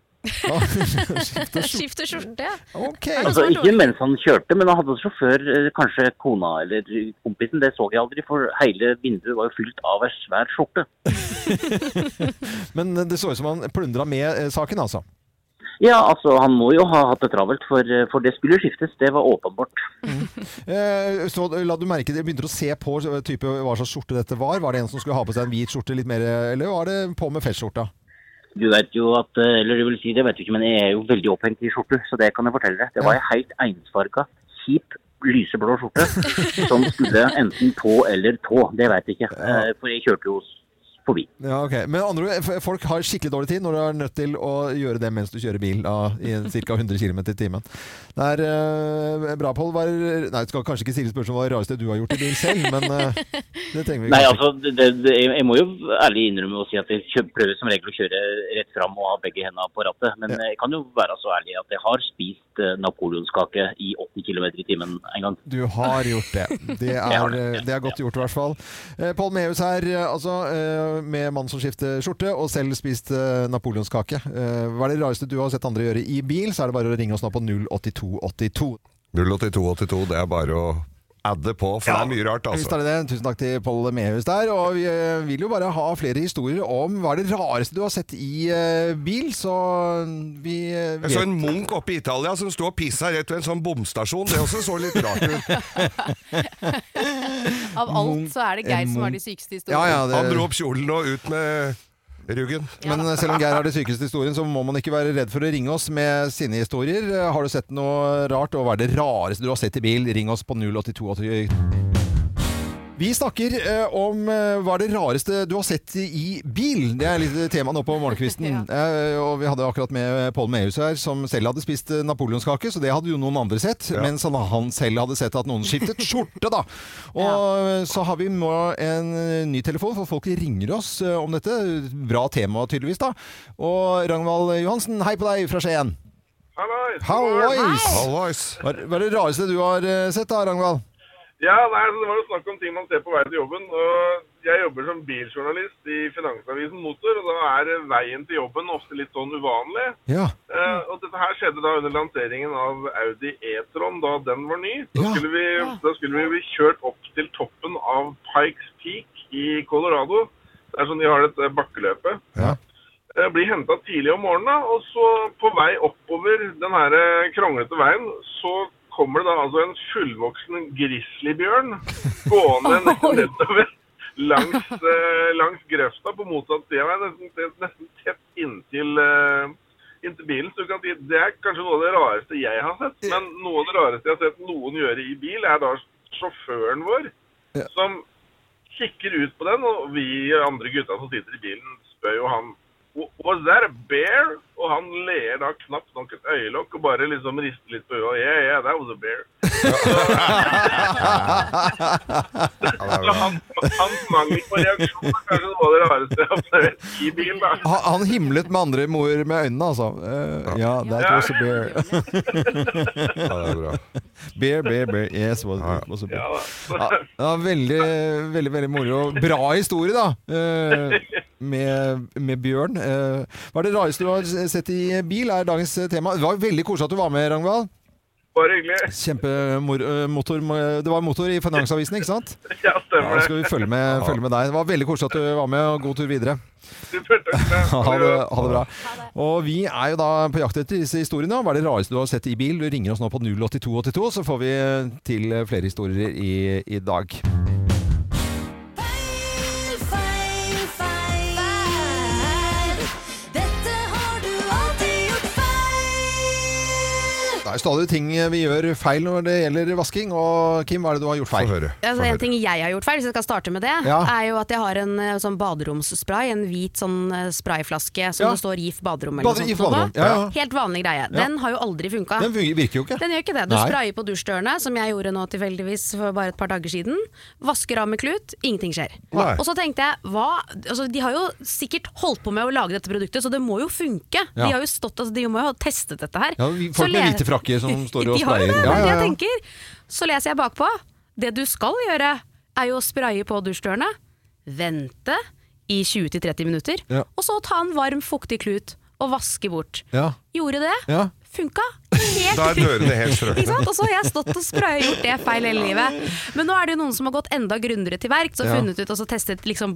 [SPEAKER 12] Skifter skjorte, ja.
[SPEAKER 11] Altså, ikke mens han kjørte, men han hadde sjåfør, eh, kanskje kona eller kompisen. Det så jeg aldri, for hele vinduet var jo fylt av ei svær skjorte.
[SPEAKER 1] Men eh, det så ut som han plundra med eh, saken, altså.
[SPEAKER 11] Ja, altså, han må jo ha hatt det travelt, for, eh, for det skulle skiftes. Det var åpenbart.
[SPEAKER 1] Eh, Så la du merke det, begynte du å se på eh, type, hva slags skjorte dette var? Var det en som skulle ha på seg en hvit skjorte litt mer, eh, eller var det på med fettskjorta?
[SPEAKER 11] Du vet jo at, eh, eller det vil si, det vet du ikke, men jeg er jo veldig opphengt i skjorter, så det kan jeg fortelle deg. Det var en helt ensfarga, kjip, lyseblå skjorte som skulle enten på eller tå. Det vet jeg ikke, eh, for jeg kjørte jo forbi.
[SPEAKER 1] Ja, ok. Men andre, ord, f- folk har skikkelig dårlig tid når du er nødt til å gjøre det mens du kjører bil da, i ca. 100 km i timen. Det er eh, bra, Pål. Var- Nei, du skal kanskje ikke stille spørsmål om hva det rareste du har gjort i bil selv, men eh, det trenger vi
[SPEAKER 11] Nei,
[SPEAKER 1] kanskje
[SPEAKER 11] altså,
[SPEAKER 1] ikke.
[SPEAKER 11] det, det, jeg jeg må jo ærlig innrømme å si at jeg kjø- prøver som regel å kjøre rett fram og ha begge hendene på rattet. Men jeg kan jo være så ærlig at jeg har spist eh, napoleonskake i 80 km i timen en gang.
[SPEAKER 1] Du har gjort det. Det er, det er godt gjort, i hvert fall. Eh, Pål Mehus her, eh, altså, eh, med mann som skifter skjorte, og selv spist eh, napoleonskake. Eh, Hva er det rareste du har sett andre gjøre i bil, så er det bare å ringe oss nå på 08282.
[SPEAKER 2] 08282, det er bare å adde på, for det er mye rart,
[SPEAKER 1] Hvis det
[SPEAKER 2] altså.
[SPEAKER 1] er det. Tusen takk til Pål Mehus der. Og vi eh, vil jo bare ha flere historier om hva er det rareste du har sett i eh, bil, så vi eh,
[SPEAKER 2] Jeg så en munk oppe i Italia som sto og pissa rett ved en sånn bomstasjon. Det også så litt rart ut.
[SPEAKER 12] Av alt så er det Geir som har de sykeste historiene.
[SPEAKER 2] Han dro opp kjolen og ut med ryggen.
[SPEAKER 1] Men eh, selv om Geir har det sykeste historien, så må man ikke være redd for å ringe oss med sine historier. Eh, Har du sett noe rart, og hva er det rareste du har sett i bil? Ring oss på 08280. Vi snakker eh, om eh, hva er det rareste du har sett i bil. Det er litt eh, tema nå på morgenkvisten. Eh, og vi hadde akkurat med Pål Mehus her, som selv hadde spist eh, napoleonskake, så det hadde jo noen andre sett. Mens han, han selv hadde sett at noen skiftet skjorte, da. Og eh, så har vi nå en eh, ny telefon, for folk ringer oss eh, om dette. Bra tema, tydeligvis, da. Og Ragnvald Johansen, hei på deg fra Skien. Hallois! Hva er hva er det rareste du har eh, sett, da, Ragnvald?
[SPEAKER 13] Ja, nei, altså, det var jo snakk om ting man ser på vei til jobben. og Jeg jobber som biljournalist i Finansavisen Motor, og da er eh, veien til jobben ofte litt sånn uvanlig. Eh, og dette her skjedde da under lanseringen av Audi E-tron, da den var ny. Da skulle, vi, da skulle vi bli kjørt opp til toppen av Pikes Peak i Colorado. Det er sånn de har dette bakkeløpet. Eh, blir henta tidlig om morgenen, da, og så på vei oppover den her eh, kronglete veien, så kommer det da altså en fullvoksen grizzlybjørn gående nesten nedover langs, eh, langs grøfta på motsatt side av veien, nesten, tett- nesten tett inntil, eh, inntil bilen. Så du kan si det er kanskje noe av det rareste jeg har sett, men noe av det rareste jeg har sett noen gjøre i bil, er da sjåføren vår, som kikker ut på den, og vi andre gutta som sitter i bilen spør jo han Was that a bear? Og han ler da knapt nok et øyelokk og bare liksom rister litt på øyet. Yeah, yeah, that was a bear. Så han, hans mangel på reaksjon er kanskje noe av det rareste jeg har observert i bil. da.
[SPEAKER 1] Han, han himlet med andre mor med øynene, altså. Eh, ja, that
[SPEAKER 13] Ja.
[SPEAKER 1] was a bear.
[SPEAKER 13] Ja, det er bra.
[SPEAKER 1] Bear, bear, bear. Yes, was, was a bear. Ja, ja, veldig, veldig veldig moro. Bra historie, da. eh, med, med bjørn. Eh, hva er det rareste du har sett i bil, er dagens tema. Det var veldig koselig at du var med, Ragnvald.
[SPEAKER 13] Bare hyggelig.
[SPEAKER 1] Kjempemotor Det var motor i Finansavisen, ikke sant?
[SPEAKER 13] Ja,
[SPEAKER 1] stemmer Da skal vi følge med, følge med deg. Det var veldig koselig at du var med, og god tur videre. Ha det, ha det bra. Og vi er jo da på jakt etter disse historiene. Hva er det rareste du har sett i bil? Du ringer oss nå på 08282, så får vi eh, til flere historier i, i dag.
[SPEAKER 5] Dette har du alltid gjort feil.
[SPEAKER 1] Det er stadig ting eh, vi gjør feil når det gjelder vasking. Og Kim, hva er det du har gjort feil?
[SPEAKER 3] Altså, en ting jeg har gjort feil, hvis jeg skal starte med det,
[SPEAKER 1] Ja.
[SPEAKER 3] er jo at jeg har en eh, sånn baderomsspray. En hvit sånn eh, sprayflaske som
[SPEAKER 1] Ja.
[SPEAKER 3] det står GIF baderom
[SPEAKER 1] Bader-
[SPEAKER 3] eller noe
[SPEAKER 1] GIF
[SPEAKER 3] sånt på.
[SPEAKER 1] baderom, ja, ja.
[SPEAKER 3] Helt vanlig greie.
[SPEAKER 1] Ja.
[SPEAKER 3] Den har jo aldri funka.
[SPEAKER 1] Den fun- virker jo ikke.
[SPEAKER 3] Den gjør ikke det. Du
[SPEAKER 1] Nei.
[SPEAKER 3] sprayer på dusjdørene, som jeg gjorde nå tilfeldigvis for bare et par dager siden. Vasker av med klut, ingenting skjer.
[SPEAKER 1] Nei.
[SPEAKER 3] Og så tenkte jeg, hva altså, De har jo sikkert holdt på med å lage dette produktet, så det må jo funke.
[SPEAKER 1] Ja.
[SPEAKER 3] De har jo stått, altså, de må jo ha testet dette her.
[SPEAKER 1] Ja, vi-
[SPEAKER 3] Så
[SPEAKER 1] folk med
[SPEAKER 3] le-
[SPEAKER 1] hvite frakker som står og
[SPEAKER 3] de har jo
[SPEAKER 1] sprayer.
[SPEAKER 3] det, det
[SPEAKER 1] Ja,
[SPEAKER 3] er
[SPEAKER 1] ja,
[SPEAKER 3] det jeg
[SPEAKER 1] ja.
[SPEAKER 3] tenker. Så leser jeg bakpå. Det du skal gjøre, er jo å spraye på dusjdørene, vente i 20-30 minutter,
[SPEAKER 1] Ja.
[SPEAKER 3] og så ta en varm, fuktig klut og vaske bort.
[SPEAKER 1] Ja.
[SPEAKER 3] Gjorde det.
[SPEAKER 1] Ja.
[SPEAKER 3] Funka. Helt
[SPEAKER 2] Da er
[SPEAKER 3] fint.
[SPEAKER 2] dørene helt strøkne.
[SPEAKER 3] Ikke sant? Og så har jeg stått og spraya og gjort det feil hele livet. Men nå er det jo noen som har gått enda grundigere til verks og
[SPEAKER 12] Ja.
[SPEAKER 3] funnet ut og så testet liksom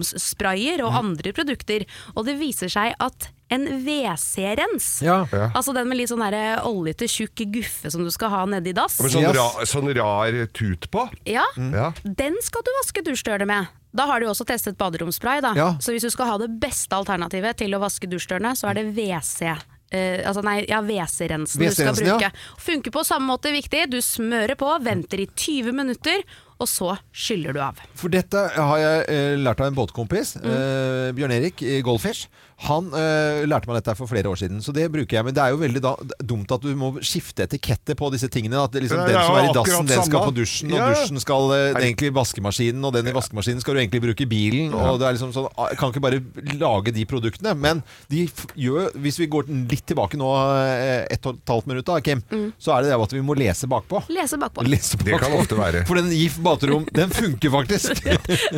[SPEAKER 3] baderomssprayer og andre produkter, og det viser seg at en WC-rens,
[SPEAKER 2] Ja. Ja.
[SPEAKER 3] altså den med litt sånn derre oljete, tjukk guffe som du skal ha nedi dass
[SPEAKER 2] Med sånn, ra, sånn rar Mm. tut på.
[SPEAKER 3] Ja.
[SPEAKER 2] Ja.
[SPEAKER 3] Den skal du vaske dusjdørene med. Da har du jo også testet baderomsspray, da.
[SPEAKER 2] Ja.
[SPEAKER 3] Så hvis du skal ha det beste alternativet til å vaske dusjdørene, så er det WC. eh, altså nei, ja, WC-rensen du skal
[SPEAKER 12] WC-rensen, ja.
[SPEAKER 3] bruke. Funker på samme måte, viktig. Du smører på, venter i 20 minutter, og så skyller du av.
[SPEAKER 1] For dette har jeg eh, lært av en båtkompis,
[SPEAKER 3] Mm.
[SPEAKER 1] eh, Bjørn Erik i Goldfish. Han eh, lærte meg dette for flere år siden, så det bruker jeg. Men det er jo veldig da, dumt at du må skifte etiketter på disse tingene. At det liksom,
[SPEAKER 2] Ja,
[SPEAKER 1] den
[SPEAKER 2] ja,
[SPEAKER 1] som er i
[SPEAKER 2] akkurat
[SPEAKER 1] dassen, den skal
[SPEAKER 2] samme.
[SPEAKER 1] på dusjen, og
[SPEAKER 2] Ja, ja.
[SPEAKER 1] dusjen skal eh, det er egentlig i vaskemaskinen, og den i vaskemaskinen skal du egentlig bruke i bilen.
[SPEAKER 2] Ja.
[SPEAKER 1] Og det er liksom sånn, ah, jeg kan ikke bare lage de produktene. Men de f gjør, hvis vi går litt tilbake nå, eh, ett og et halvt minutt da, Kim, så er det det at vi må lese bakpå.
[SPEAKER 3] Mm. Lese bakpå.
[SPEAKER 1] Lese
[SPEAKER 2] Det kan
[SPEAKER 1] bakpå.
[SPEAKER 2] ofte være.
[SPEAKER 1] For den GIF baterom, den funker faktisk.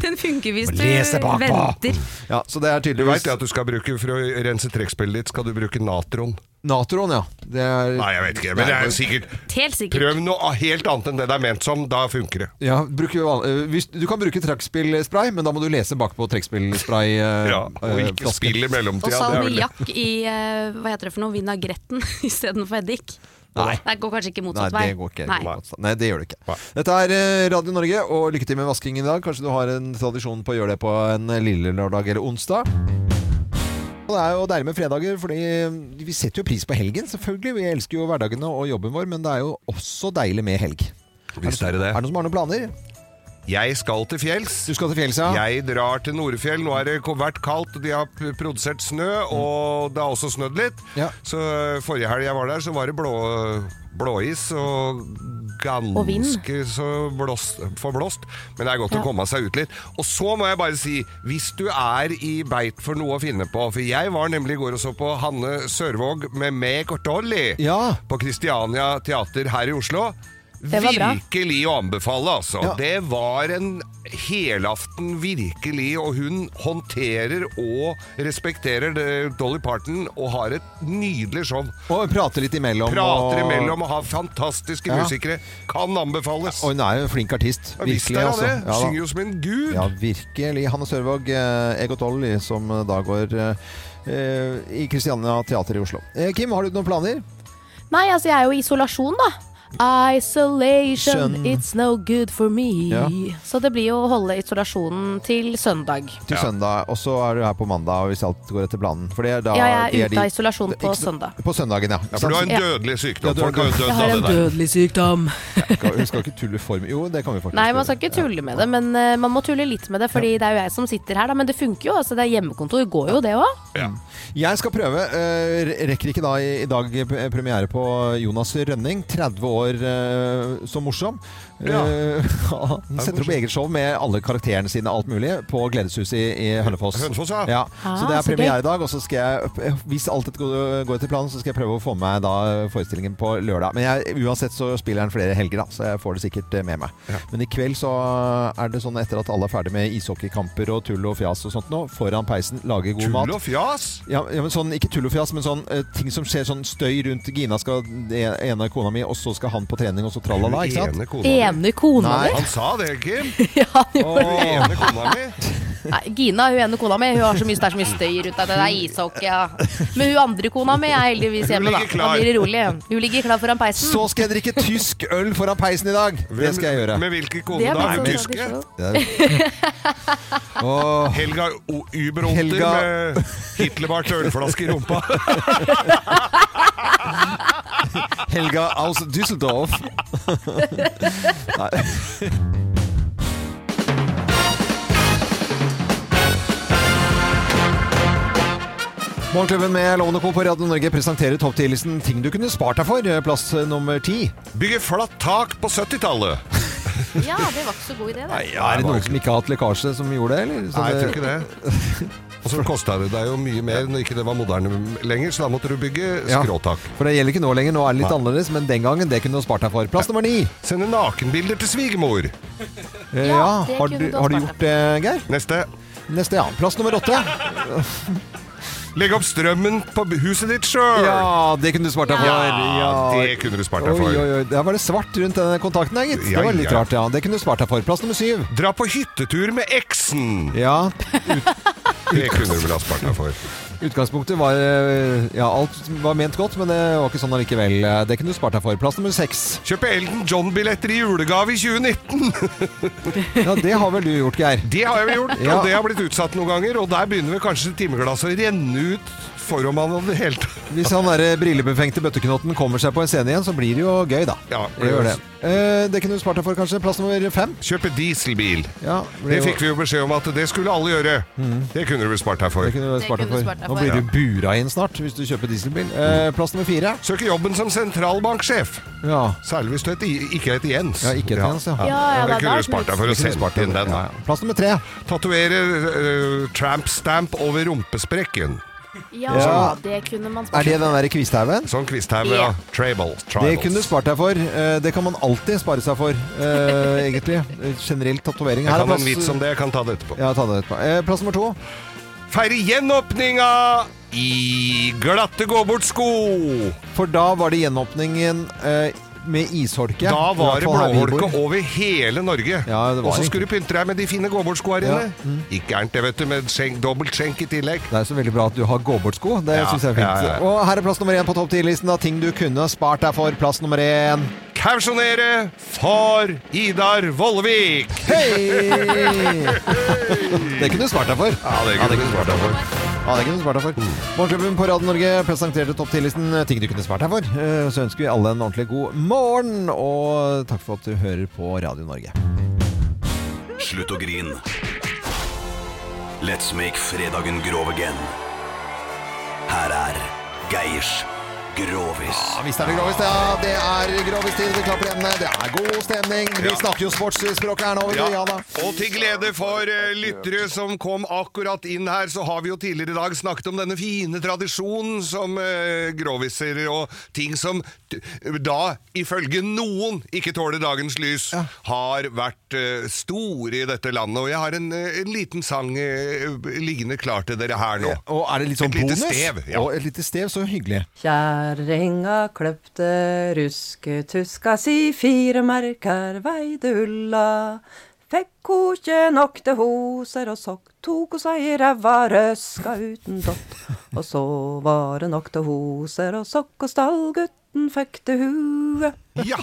[SPEAKER 3] Den funker hvis du
[SPEAKER 1] Lese bakpå.
[SPEAKER 3] venter.
[SPEAKER 1] Ja, så det er
[SPEAKER 2] Du
[SPEAKER 1] tydeligvis
[SPEAKER 2] veit at du skal bruke for å rense trekkspillet ditt, skal du bruke natron.
[SPEAKER 1] Natron, ja. Det er...
[SPEAKER 2] Nei, jeg vet ikke, men det er sikkert
[SPEAKER 3] Helt sikkert.
[SPEAKER 2] Prøv noe helt annet enn det det er ment som, da funker det.
[SPEAKER 1] Ja, bruker jo van- eh, hvis, du kan bruke trekkspillspray, men da må du lese bakpå trekkspillspray. eh,
[SPEAKER 2] Ja, og
[SPEAKER 1] eh,
[SPEAKER 2] ikke
[SPEAKER 1] flasken.
[SPEAKER 2] spill i
[SPEAKER 3] Og
[SPEAKER 2] mellomtida.
[SPEAKER 3] salmiakk i eh, hva heter det for noe, vinagretten istedenfor eddik.
[SPEAKER 1] Nei.
[SPEAKER 3] Det går kanskje ikke motsatt
[SPEAKER 1] Nei,
[SPEAKER 3] vei.
[SPEAKER 1] det går ikke.
[SPEAKER 3] Nei.
[SPEAKER 1] motsatt. Nei, det gjør det ikke. Dette er eh, Radio Norge, og lykke til med vaskingen i dag. Kanskje du har en tradisjon på å gjøre det på en lille lørdag eller onsdag. Og Det er jo deilig med fredager, fordi eh, vi setter jo pris på helgen, selvfølgelig. Vi elsker jo hverdagene og jobben vår, men det er jo også deilig med helg.
[SPEAKER 2] Visst er det det.
[SPEAKER 1] Er det noen som har noen planer?
[SPEAKER 2] Jeg skal til fjells.
[SPEAKER 1] Du skal til fjells, ja.
[SPEAKER 2] Jeg drar til Norefjell. Nå har det ko- vært kaldt, og de har p- produsert snø,
[SPEAKER 4] Mm.
[SPEAKER 2] og det har også snødd litt. Så eh, forrige helg jeg var der, så var det blå, blåis og
[SPEAKER 4] Og vind.
[SPEAKER 2] ganske så blåst, forblåst. Men det er godt
[SPEAKER 4] Ja.
[SPEAKER 2] å komme seg ut litt. Og så må jeg bare si, hvis du er i beit for noe å finne på For jeg var nemlig i går og så på Hanne Sørvåg med Meg og Dolly på Christiania Teater her i Oslo.
[SPEAKER 14] Det var bra.
[SPEAKER 2] Virkelig å anbefale, altså.
[SPEAKER 14] Ja.
[SPEAKER 2] Det var en helaften, virkelig. Og hun håndterer og respekterer det, Dolly Parton og har et nydelig show.
[SPEAKER 1] Og prater litt imellom. og-
[SPEAKER 2] Prater imellom og har fantastiske
[SPEAKER 1] Ja.
[SPEAKER 2] musikere. Kan anbefales.
[SPEAKER 1] Og hun er jo en flink artist.
[SPEAKER 2] Ja, visst
[SPEAKER 1] virkelig,
[SPEAKER 2] er han
[SPEAKER 1] altså.
[SPEAKER 2] det.
[SPEAKER 1] Ja, da.
[SPEAKER 2] Synger jo som en gud.
[SPEAKER 1] Ja, virkelig. Hanne Sørvåg, eh, Egot Olli, som eh, da går eh, i Kristiania Teater i Oslo. Eh, Kim, har du noen planer?
[SPEAKER 4] Nei, altså jeg er jo i isolasjon, da. Isolation,
[SPEAKER 1] Skjønn.
[SPEAKER 4] it's no good for me.
[SPEAKER 1] Ja.
[SPEAKER 4] Så det blir jo å holde isolasjonen til søndag.
[SPEAKER 1] Til søndag, og så er du her på mandag hvis alt går etter planen. For det er da,
[SPEAKER 4] Ja, jeg er
[SPEAKER 1] det
[SPEAKER 4] ute av isolasjon på
[SPEAKER 1] Ikke så-
[SPEAKER 4] søndag.
[SPEAKER 1] På søndagen, ja.
[SPEAKER 2] Ja, for du har en
[SPEAKER 4] Ja.
[SPEAKER 2] dødelig sykdom.
[SPEAKER 1] Ja, du har
[SPEAKER 2] Folk har jo
[SPEAKER 1] en-
[SPEAKER 2] dødd
[SPEAKER 1] Jeg har
[SPEAKER 2] av
[SPEAKER 1] en
[SPEAKER 2] det der.
[SPEAKER 4] Dødelig sykdom.
[SPEAKER 1] Skal- Hun skal ikke tulle for mye. Jo, det kan vi faktisk.
[SPEAKER 4] Nei, altså, man skal ikke tulle med det, men eh, man må tulle litt med det, fordi det er jo jeg som sitter her, da. Men det funker jo, altså. Det er hjemmekontor, går jo det òg.
[SPEAKER 1] Jeg skal prøve. eh, re- Rekker ikke da i i dag p- premiere på Jonas Rønning. 30 år eh, som morsom.
[SPEAKER 2] Ja.
[SPEAKER 1] Eh, Han setter opp eget show med alle karakterene sine, alt mulig, på Gledeshuset i, i Hønefoss.
[SPEAKER 2] Hønefoss, ja.
[SPEAKER 1] Så
[SPEAKER 2] Ah,
[SPEAKER 1] det er
[SPEAKER 2] så gøy.
[SPEAKER 1] premiere i dag, og så skal jeg, eh, hvis alt dette går går etter planen, så skal jeg prøve å få med meg da forestillingen på lørdag. Men jeg, uansett så spiller han flere helger, da, så jeg får det sikkert eh, med meg. Men i kveld så er det sånn etter at alle er ferdig med ishockeykamper og tull og fjas og sånt nå, foran peisen, lage god mat.
[SPEAKER 2] Tull og fjas!
[SPEAKER 1] Ja, ja, men sånn, Ikke tull og fjas, men sånn eh, ting som skjer sånn støy rundt Gina skal det ene er kona mi, og så skal han på trening, og så tralala. ikke sant?
[SPEAKER 2] Ene kona di.
[SPEAKER 4] Ene kona
[SPEAKER 1] Nei.
[SPEAKER 4] di.
[SPEAKER 2] Han sa det, Kim.
[SPEAKER 4] det.
[SPEAKER 2] Ene kona mi.
[SPEAKER 4] Nei, Gina hun ene kona mi hun har så mye, det er så mye støy rundt deg. Det er ishockey, ja. Men hun andre kona mi er heldigvis
[SPEAKER 1] Hun
[SPEAKER 4] hjemme, da. Da
[SPEAKER 1] ligger klar.
[SPEAKER 4] blir det rolig. Hun ligger klar foran peisen.
[SPEAKER 1] Så skal jeg drikke tysk øl foran peisen i dag! Det skal jeg gjøre.
[SPEAKER 2] Med hvilke
[SPEAKER 4] Det
[SPEAKER 2] kone
[SPEAKER 4] er
[SPEAKER 2] da? Er
[SPEAKER 4] blitt
[SPEAKER 2] hun
[SPEAKER 4] sånn
[SPEAKER 2] tysk?
[SPEAKER 4] tradisjon.
[SPEAKER 2] Helga O- Uberonter
[SPEAKER 1] Helga-
[SPEAKER 2] med Hitlerbart ølflaske i rumpa.
[SPEAKER 1] Helga aus Düsseldorf. Nei. Morgenklubben med Lovende Co. på Radio Norge presenterer topptillisten ting du kunne spart deg for. eh, Plass nummer ti.
[SPEAKER 2] Bygge flatt tak på 70-tallet.
[SPEAKER 4] Ja, det var ikke så god idé, da.
[SPEAKER 1] er det noen som ikke har hatt lekkasje som gjorde det? Eller? Sånn,
[SPEAKER 2] Nei, jeg tror ikke det.
[SPEAKER 1] eh,
[SPEAKER 2] Og så kosta det deg jo mye mer når ikke det var moderne lenger, så da måtte du bygge
[SPEAKER 1] Ja.
[SPEAKER 2] skråtak.
[SPEAKER 1] For det gjelder ikke nå lenger. Nå er det litt
[SPEAKER 2] Nei.
[SPEAKER 1] annerledes, men den gangen det kunne du spart deg for. Plass nummer ni. Eh,
[SPEAKER 2] Sende nakenbilder til svigermor.
[SPEAKER 1] Ja,
[SPEAKER 2] det
[SPEAKER 1] har,
[SPEAKER 2] kunne
[SPEAKER 1] du,
[SPEAKER 2] du ha
[SPEAKER 1] har du
[SPEAKER 2] spart
[SPEAKER 1] gjort det, Geir?
[SPEAKER 2] Neste.
[SPEAKER 1] Neste, ja. Plass nummer åtte.
[SPEAKER 2] Legg opp strømmen på huset ditt sjøl!
[SPEAKER 1] Ja, det kunne du spart deg for.
[SPEAKER 2] Ja, det kunne du spart deg for.
[SPEAKER 1] Oi, oi, oi. Der var det svart rundt den kontakten der, gitt.
[SPEAKER 2] Ja,
[SPEAKER 1] det var litt
[SPEAKER 2] ja.
[SPEAKER 1] rart, ja. Det kunne du spart deg for. Plass nummer syv.
[SPEAKER 2] Dra på hyttetur med eksen!
[SPEAKER 1] Ja.
[SPEAKER 2] Det kunne du vel ha spart deg for.
[SPEAKER 1] Utgangspunktet var eh, Ja, alt var ment godt, men det var ikke sånn allikevel. Det kunne du spart deg for. Plass nummer seks.
[SPEAKER 2] Kjøpe Elton John-billetter i julegave i 2019!
[SPEAKER 1] Ja, det har vel du gjort, Geir?
[SPEAKER 2] Det har jeg vel gjort,
[SPEAKER 1] Ja.
[SPEAKER 2] og det har blitt utsatt noen ganger. Og der begynner vel kanskje timeglasset å renne ut foran man hadde helt
[SPEAKER 1] Hvis han derre brillebefengte bøtteknotten kommer seg på en scene igjen, så blir det jo gøy, da.
[SPEAKER 2] Ja,
[SPEAKER 1] Det gjør det. Eh, det kunne du spart deg for, kanskje. Plass nummer fem.
[SPEAKER 2] Kjøpe dieselbil.
[SPEAKER 1] Ja,
[SPEAKER 2] Det fikk vi jo beskjed om at det skulle alle gjøre. Det kunne du vel spart deg for.
[SPEAKER 1] Mm. Det kunne du spart deg for. Nå blir du bura inn snart hvis du kjøper dieselbil. Eh, plass nummer fire.
[SPEAKER 2] Søke jobben som sentralbanksjef.
[SPEAKER 1] Ja.
[SPEAKER 2] Særlig hvis du heter, ikke heter Jens.
[SPEAKER 1] Ja, ikke heter Jens, ja. Ja, ja, da-
[SPEAKER 2] Det kunne
[SPEAKER 1] da-
[SPEAKER 2] du spart deg for
[SPEAKER 1] Det
[SPEAKER 2] å
[SPEAKER 1] kunne du
[SPEAKER 2] sende
[SPEAKER 1] spart deg
[SPEAKER 2] inn
[SPEAKER 1] for,
[SPEAKER 2] den.
[SPEAKER 1] ja, Plass nummer tre.
[SPEAKER 2] Tatovere øh, tramp stamp over rumpesprekken.
[SPEAKER 4] Ja,
[SPEAKER 1] Ja.
[SPEAKER 4] det kunne man spart
[SPEAKER 1] Er det den derre kvisthaugen?
[SPEAKER 2] Sånn kvisthauge, ja. Trable.
[SPEAKER 1] Det
[SPEAKER 2] Tribals.
[SPEAKER 1] kunne du spart deg for. Eh, Det kan man alltid spare seg for, eh, egentlig. Eh, Generelt tatovering.
[SPEAKER 2] Jeg
[SPEAKER 1] Her er
[SPEAKER 2] kan ha en
[SPEAKER 1] plass-
[SPEAKER 2] vits om det, jeg kan ta det etterpå.
[SPEAKER 1] Ja, ta det etterpå. Eh, Plass nummer to.
[SPEAKER 2] Feire gjenåpninga i glatte gå-bort-sko!
[SPEAKER 1] For da var det gjenåpningen eh, med isholke.
[SPEAKER 2] Da var
[SPEAKER 1] I hvert
[SPEAKER 2] det
[SPEAKER 1] fall her vi
[SPEAKER 2] blåholke
[SPEAKER 1] bor.
[SPEAKER 2] over hele Norge.
[SPEAKER 1] det var
[SPEAKER 2] og så
[SPEAKER 1] det.
[SPEAKER 2] skulle du pynte deg med de fine gå-bort-skoa dine.
[SPEAKER 1] Ja, Mm.
[SPEAKER 2] Ikke gærent det, vet du, med skjenk, dobbelt skjenk i tillegg.
[SPEAKER 1] Det er så veldig bra at du har gå-bort-sko. Det
[SPEAKER 2] Ja,
[SPEAKER 1] synes jeg er fint.
[SPEAKER 2] ja, ja.
[SPEAKER 1] Og her er plass nummer én på topp 10-listen av ting du kunne ha spart deg for. Plass nummer én.
[SPEAKER 2] Kausjonere for Idar Vollevik!
[SPEAKER 1] Hei! Det kunne du spart deg for.
[SPEAKER 2] Ja, det kunne du spart deg for.
[SPEAKER 1] Ja, det kunne du spart deg for. Morgenklubben på Radio Norge presenterte topp 10-listen ting du kunne spart deg for. Eh, Så ønsker vi alle en ordentlig god morgen, og takk for at du hører på Radio Norge.
[SPEAKER 14] Slutt å grin. Let's make fredagen grov again. Her er Geirs Grovis.
[SPEAKER 1] Ja, visst er det grovis, ja. Det er grovis tid. Vi klapper igjen. Det er god stemning. Vi
[SPEAKER 2] Ja.
[SPEAKER 1] snakker jo sportsspråket her nå. vet du. Ja da.
[SPEAKER 2] Og til glede for eh, lyttere som kom akkurat inn her, så har vi jo tidligere i dag snakket om denne fine tradisjonen som eh, groviser og ting som t- da, ifølge noen, ikke tåler dagens lys, har vært eh, store i dette landet. Og jeg har en, eh, en liten sang eh, liggende klar til dere her nå.
[SPEAKER 1] Og er det litt sånn
[SPEAKER 2] Et lite
[SPEAKER 1] bonus?
[SPEAKER 2] stev, ja.
[SPEAKER 1] Og et lite stev, så hyggelig.
[SPEAKER 15] Kjerringa kløpte rusketuska si, fire merker veide ulla. Fekk ho ikkje nok til hoser og sokk, tok ho seg i ræva røska uten dott. Og så var det nok til hoser og sokk, og stallgutten fikk til huet.
[SPEAKER 2] Ja.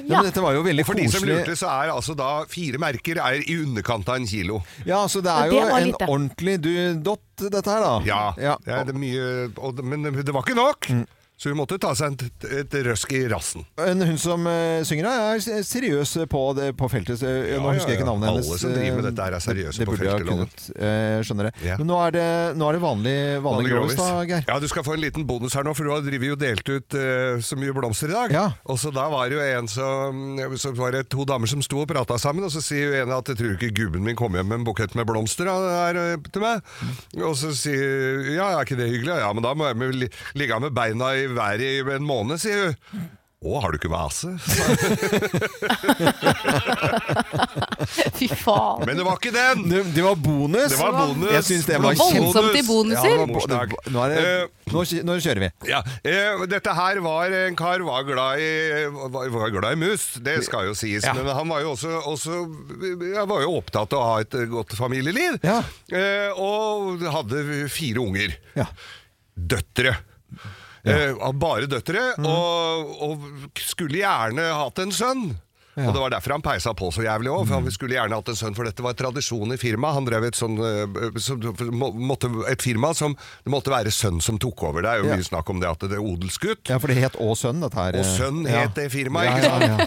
[SPEAKER 1] Ja, men dette var jo veldig
[SPEAKER 2] Og for de som
[SPEAKER 1] koselig.
[SPEAKER 2] lurte, så er altså da fire merker er i underkant av en kilo.
[SPEAKER 1] Ja, så det er
[SPEAKER 2] Ja, det
[SPEAKER 1] jo
[SPEAKER 2] var
[SPEAKER 1] en
[SPEAKER 2] lite.
[SPEAKER 1] ordentlig du, dott, dette her, da.
[SPEAKER 2] Ja, det er det mye, og, det- men det var ikke nok. Så hun måtte ta seg et, et røsk i rassen.
[SPEAKER 1] En Hun som eh, synger da, er s- seriøs på, det, på feltet. så, eh, nå
[SPEAKER 2] ja,
[SPEAKER 1] husker jeg ikke
[SPEAKER 2] ja.
[SPEAKER 1] navnet
[SPEAKER 2] Alle
[SPEAKER 1] hennes.
[SPEAKER 2] som driver med
[SPEAKER 1] eh,
[SPEAKER 2] dette her er seriøse
[SPEAKER 1] det, det
[SPEAKER 2] på
[SPEAKER 1] burde jeg ha
[SPEAKER 2] feltet, loven.
[SPEAKER 1] kunnet, eh, skjønner det. Men nå er det, nå er det vanlig, vanlig, grovis, da, Geir.
[SPEAKER 2] Ja, du skal få en liten bonus her nå, for du har drivet jo delt ut eh, så mye blomster i dag. Og så da var det jo en som Så var det to damer som sto og prata sammen, og så sier jo en at jeg tror ikke gubben min kom hjem med en bukett med blomster da, her, eh, til meg. Og så sier ja, er ikke det hyggelig? Ja, men da må jeg vel li- ligge med beina i været i en måned, sier hun. Å, har du ikke vase?
[SPEAKER 4] Fy faen.
[SPEAKER 2] Men det var ikke den!
[SPEAKER 1] Det, det var bonus.
[SPEAKER 2] Det var bonus.
[SPEAKER 1] Jeg synes det var
[SPEAKER 2] Voldsomt
[SPEAKER 1] kjempe-
[SPEAKER 2] i bonuser.
[SPEAKER 1] Ja, det var bo-
[SPEAKER 2] Morsdag.
[SPEAKER 1] nå, er det, nå, kj- nå kjører vi.
[SPEAKER 2] Ja, eh, Dette her var en kar var glad i, var, var glad i mus, det skal jo sies.
[SPEAKER 1] Ja.
[SPEAKER 2] Men han var jo også, også jeg var jo opptatt av å ha et godt familieliv. Eh, og hadde fire unger. Døtre.
[SPEAKER 1] Mhm.
[SPEAKER 2] Eh, bare døtre. Og, og skulle gjerne hatt en sønn.
[SPEAKER 1] Ja. Mhm.
[SPEAKER 2] Og det var derfor han peisa på så jævlig òg, for han skulle gjerne hatt en sønn, for dette var tradisjon i firmaet. Han drev et sånn eh, som- må- måtte, Et firma som Det måtte være sønn som tok over. Det er jo
[SPEAKER 1] Ja.
[SPEAKER 2] mye snakk om det at det er odelsgutt.
[SPEAKER 1] Ja, for det het Å Sønn, dette her.
[SPEAKER 2] Og Sønn
[SPEAKER 1] Ja.
[SPEAKER 2] het det firmaet,
[SPEAKER 1] Ja,
[SPEAKER 2] ikke sant?
[SPEAKER 1] ja, ja.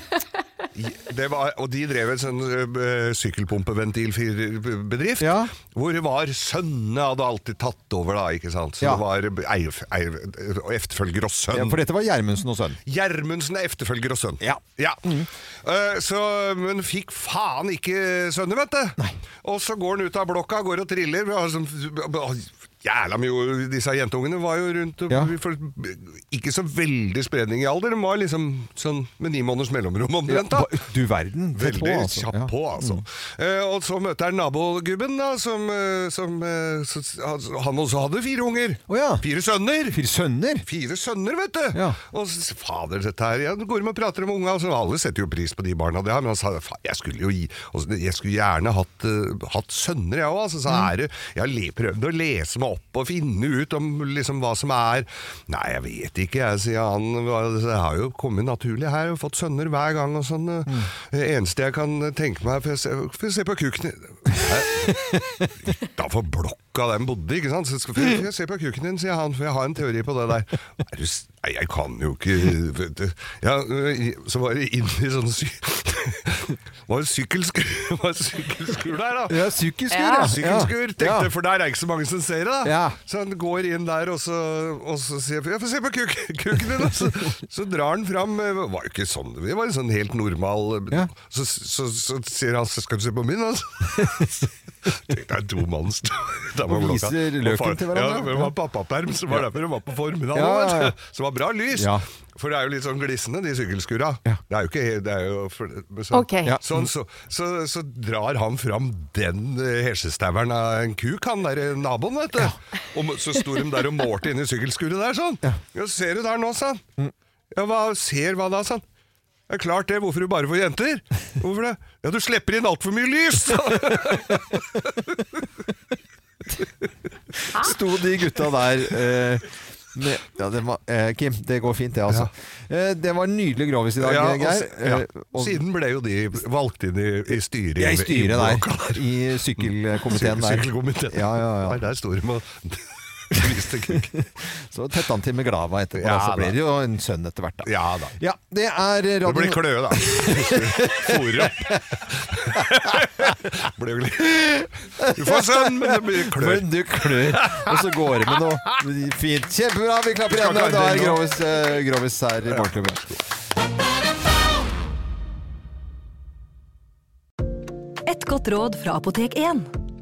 [SPEAKER 2] Det var, og de drev en sånn ø, ø, sykkelpumpeventilbedrift, hvor det var sønnene hadde alltid tatt over, da, ikke sant? Så
[SPEAKER 1] Ja.
[SPEAKER 2] det var eier, eier, og efterfølger og sønn.
[SPEAKER 1] Ja, for dette var Gjermundsen og sønn.
[SPEAKER 2] Gjermundsen er efterfølger og sønn. Ja. Eh, så, men fikk faen ikke sønner, vet du. Og så går han ut av blokka, går og triller. Vi har sånn- Jævla mye Disse jentungene var jo rundt og, for, Ikke så veldig spredning i alder. De var liksom sånn med ni måneders mellomrom omtrent. da.
[SPEAKER 1] Du verden. tett på,
[SPEAKER 2] Veldig
[SPEAKER 1] altså.
[SPEAKER 2] kjapp
[SPEAKER 1] Ja. Mm.
[SPEAKER 2] på, altså. Eh, og så møter han nabogubben, da, som, eh, som eh, så, han- Han også hadde fire unger. Fire sønner.
[SPEAKER 1] Fire sønner,
[SPEAKER 2] Fire sønner, vet du! Og s- fader, dette her ja, Går de og prater om unga, altså, alle setter jo pris på de barna de har, men han sa "Fa, jeg skulle jo gi altså, Jeg skulle gjerne hatt, eh, hatt sønner, jeg òg. Altså, så er det Jeg le- prøvde å lese meg opp og finne ut om liksom hva som er Nei, jeg vet ikke, jeg, sier han. Det har jo kommet naturlig her, og fått sønner hver gang og sånn. eh, Det eneste jeg kan tenke meg Får jeg se, får jeg se på kuken din Utafor blokka der den bodde, ikke sant? Så skal får jeg se på kuken din, sier han, for jeg har en teori på det der. Er du s- Nei, jeg kan jo ikke vet du. ja, øh, Så var det inn i sånn sy Var det sykkelskur Var det sykkelskur der, da?
[SPEAKER 1] Ja, sykkelskur, ja.
[SPEAKER 2] Sykkelskur,
[SPEAKER 1] Ja.
[SPEAKER 2] tenkte
[SPEAKER 1] Ja.
[SPEAKER 2] jeg, for der er ikke så mange som ser det, da.
[SPEAKER 1] Ja.
[SPEAKER 2] Så han går inn der, og så, og så sier jeg, jeg får se på kuk, kuken din, da. Så, så drar han fram, eh, var jo ikke sånn, vi var jo sånn helt normal, eh, så, så, så, sier han, så skal du se på min, altså. Tenkte jeg, to mann sto der
[SPEAKER 1] Og
[SPEAKER 2] blokka.
[SPEAKER 1] viser løken
[SPEAKER 2] Og far-
[SPEAKER 1] til hverandre.
[SPEAKER 2] Ja, det var pappaperm, så var det derfor det var på formiddagen,
[SPEAKER 1] Ja, ja, ja.
[SPEAKER 2] vet du. Så det var bra lys.
[SPEAKER 1] Ja.
[SPEAKER 2] For det er jo litt sånn glissende, de sykkelskurra. Det er jo ikke he- det er jo for, så,
[SPEAKER 4] Ok. Ja.
[SPEAKER 2] sånn, så, så, så drar han fram den eh, hesjestaueren av en kuk, han der eh, naboen, vet du. Og må- så sto de der og målte inni sykkelskuret der, sånn. Ja. ser du der nå, sa
[SPEAKER 1] Mm.
[SPEAKER 2] han. Ja, hva, ser hva da, sa han. Det er klart det, hvorfor du bare får jenter? Hvorfor det? Ja, du slipper inn altfor mye lys!
[SPEAKER 1] Sto de gutta der eh, med, ja, det var, eh, Kim, det går fint det, altså. Eh, det var en nydelig grovis i dag,
[SPEAKER 2] Ja, og-
[SPEAKER 1] Geir.
[SPEAKER 2] ja.
[SPEAKER 1] Eh, og-
[SPEAKER 2] Siden ble jo de valgt inn i, i styret.
[SPEAKER 1] Ja, i styret der.
[SPEAKER 2] I
[SPEAKER 1] sykkelkomiteen der.
[SPEAKER 2] Sykkelkomiteen.
[SPEAKER 1] Ja, ja, ja.
[SPEAKER 2] Nei, Der står de og viste kuk.
[SPEAKER 1] Så tette han til med glava etterpå,
[SPEAKER 2] Ja,
[SPEAKER 1] da, så ble
[SPEAKER 2] da.
[SPEAKER 1] det jo en sønn etter hvert, da.
[SPEAKER 2] Ja da.
[SPEAKER 1] Ja, det er radio...
[SPEAKER 2] Det blir kløe, da. Fôre opp. Ble jo litt- Du får sønn, men det blir klør.
[SPEAKER 1] Men du klør. Og så går det med noe fint. Kjempebra, vi klapper
[SPEAKER 2] Vi skal
[SPEAKER 1] igjen. og
[SPEAKER 2] klappe
[SPEAKER 1] Da er
[SPEAKER 2] igjen nå.
[SPEAKER 1] Grovis, eh, grovis her i Morgenklubben.
[SPEAKER 16] Et godt råd fra Apotek 1.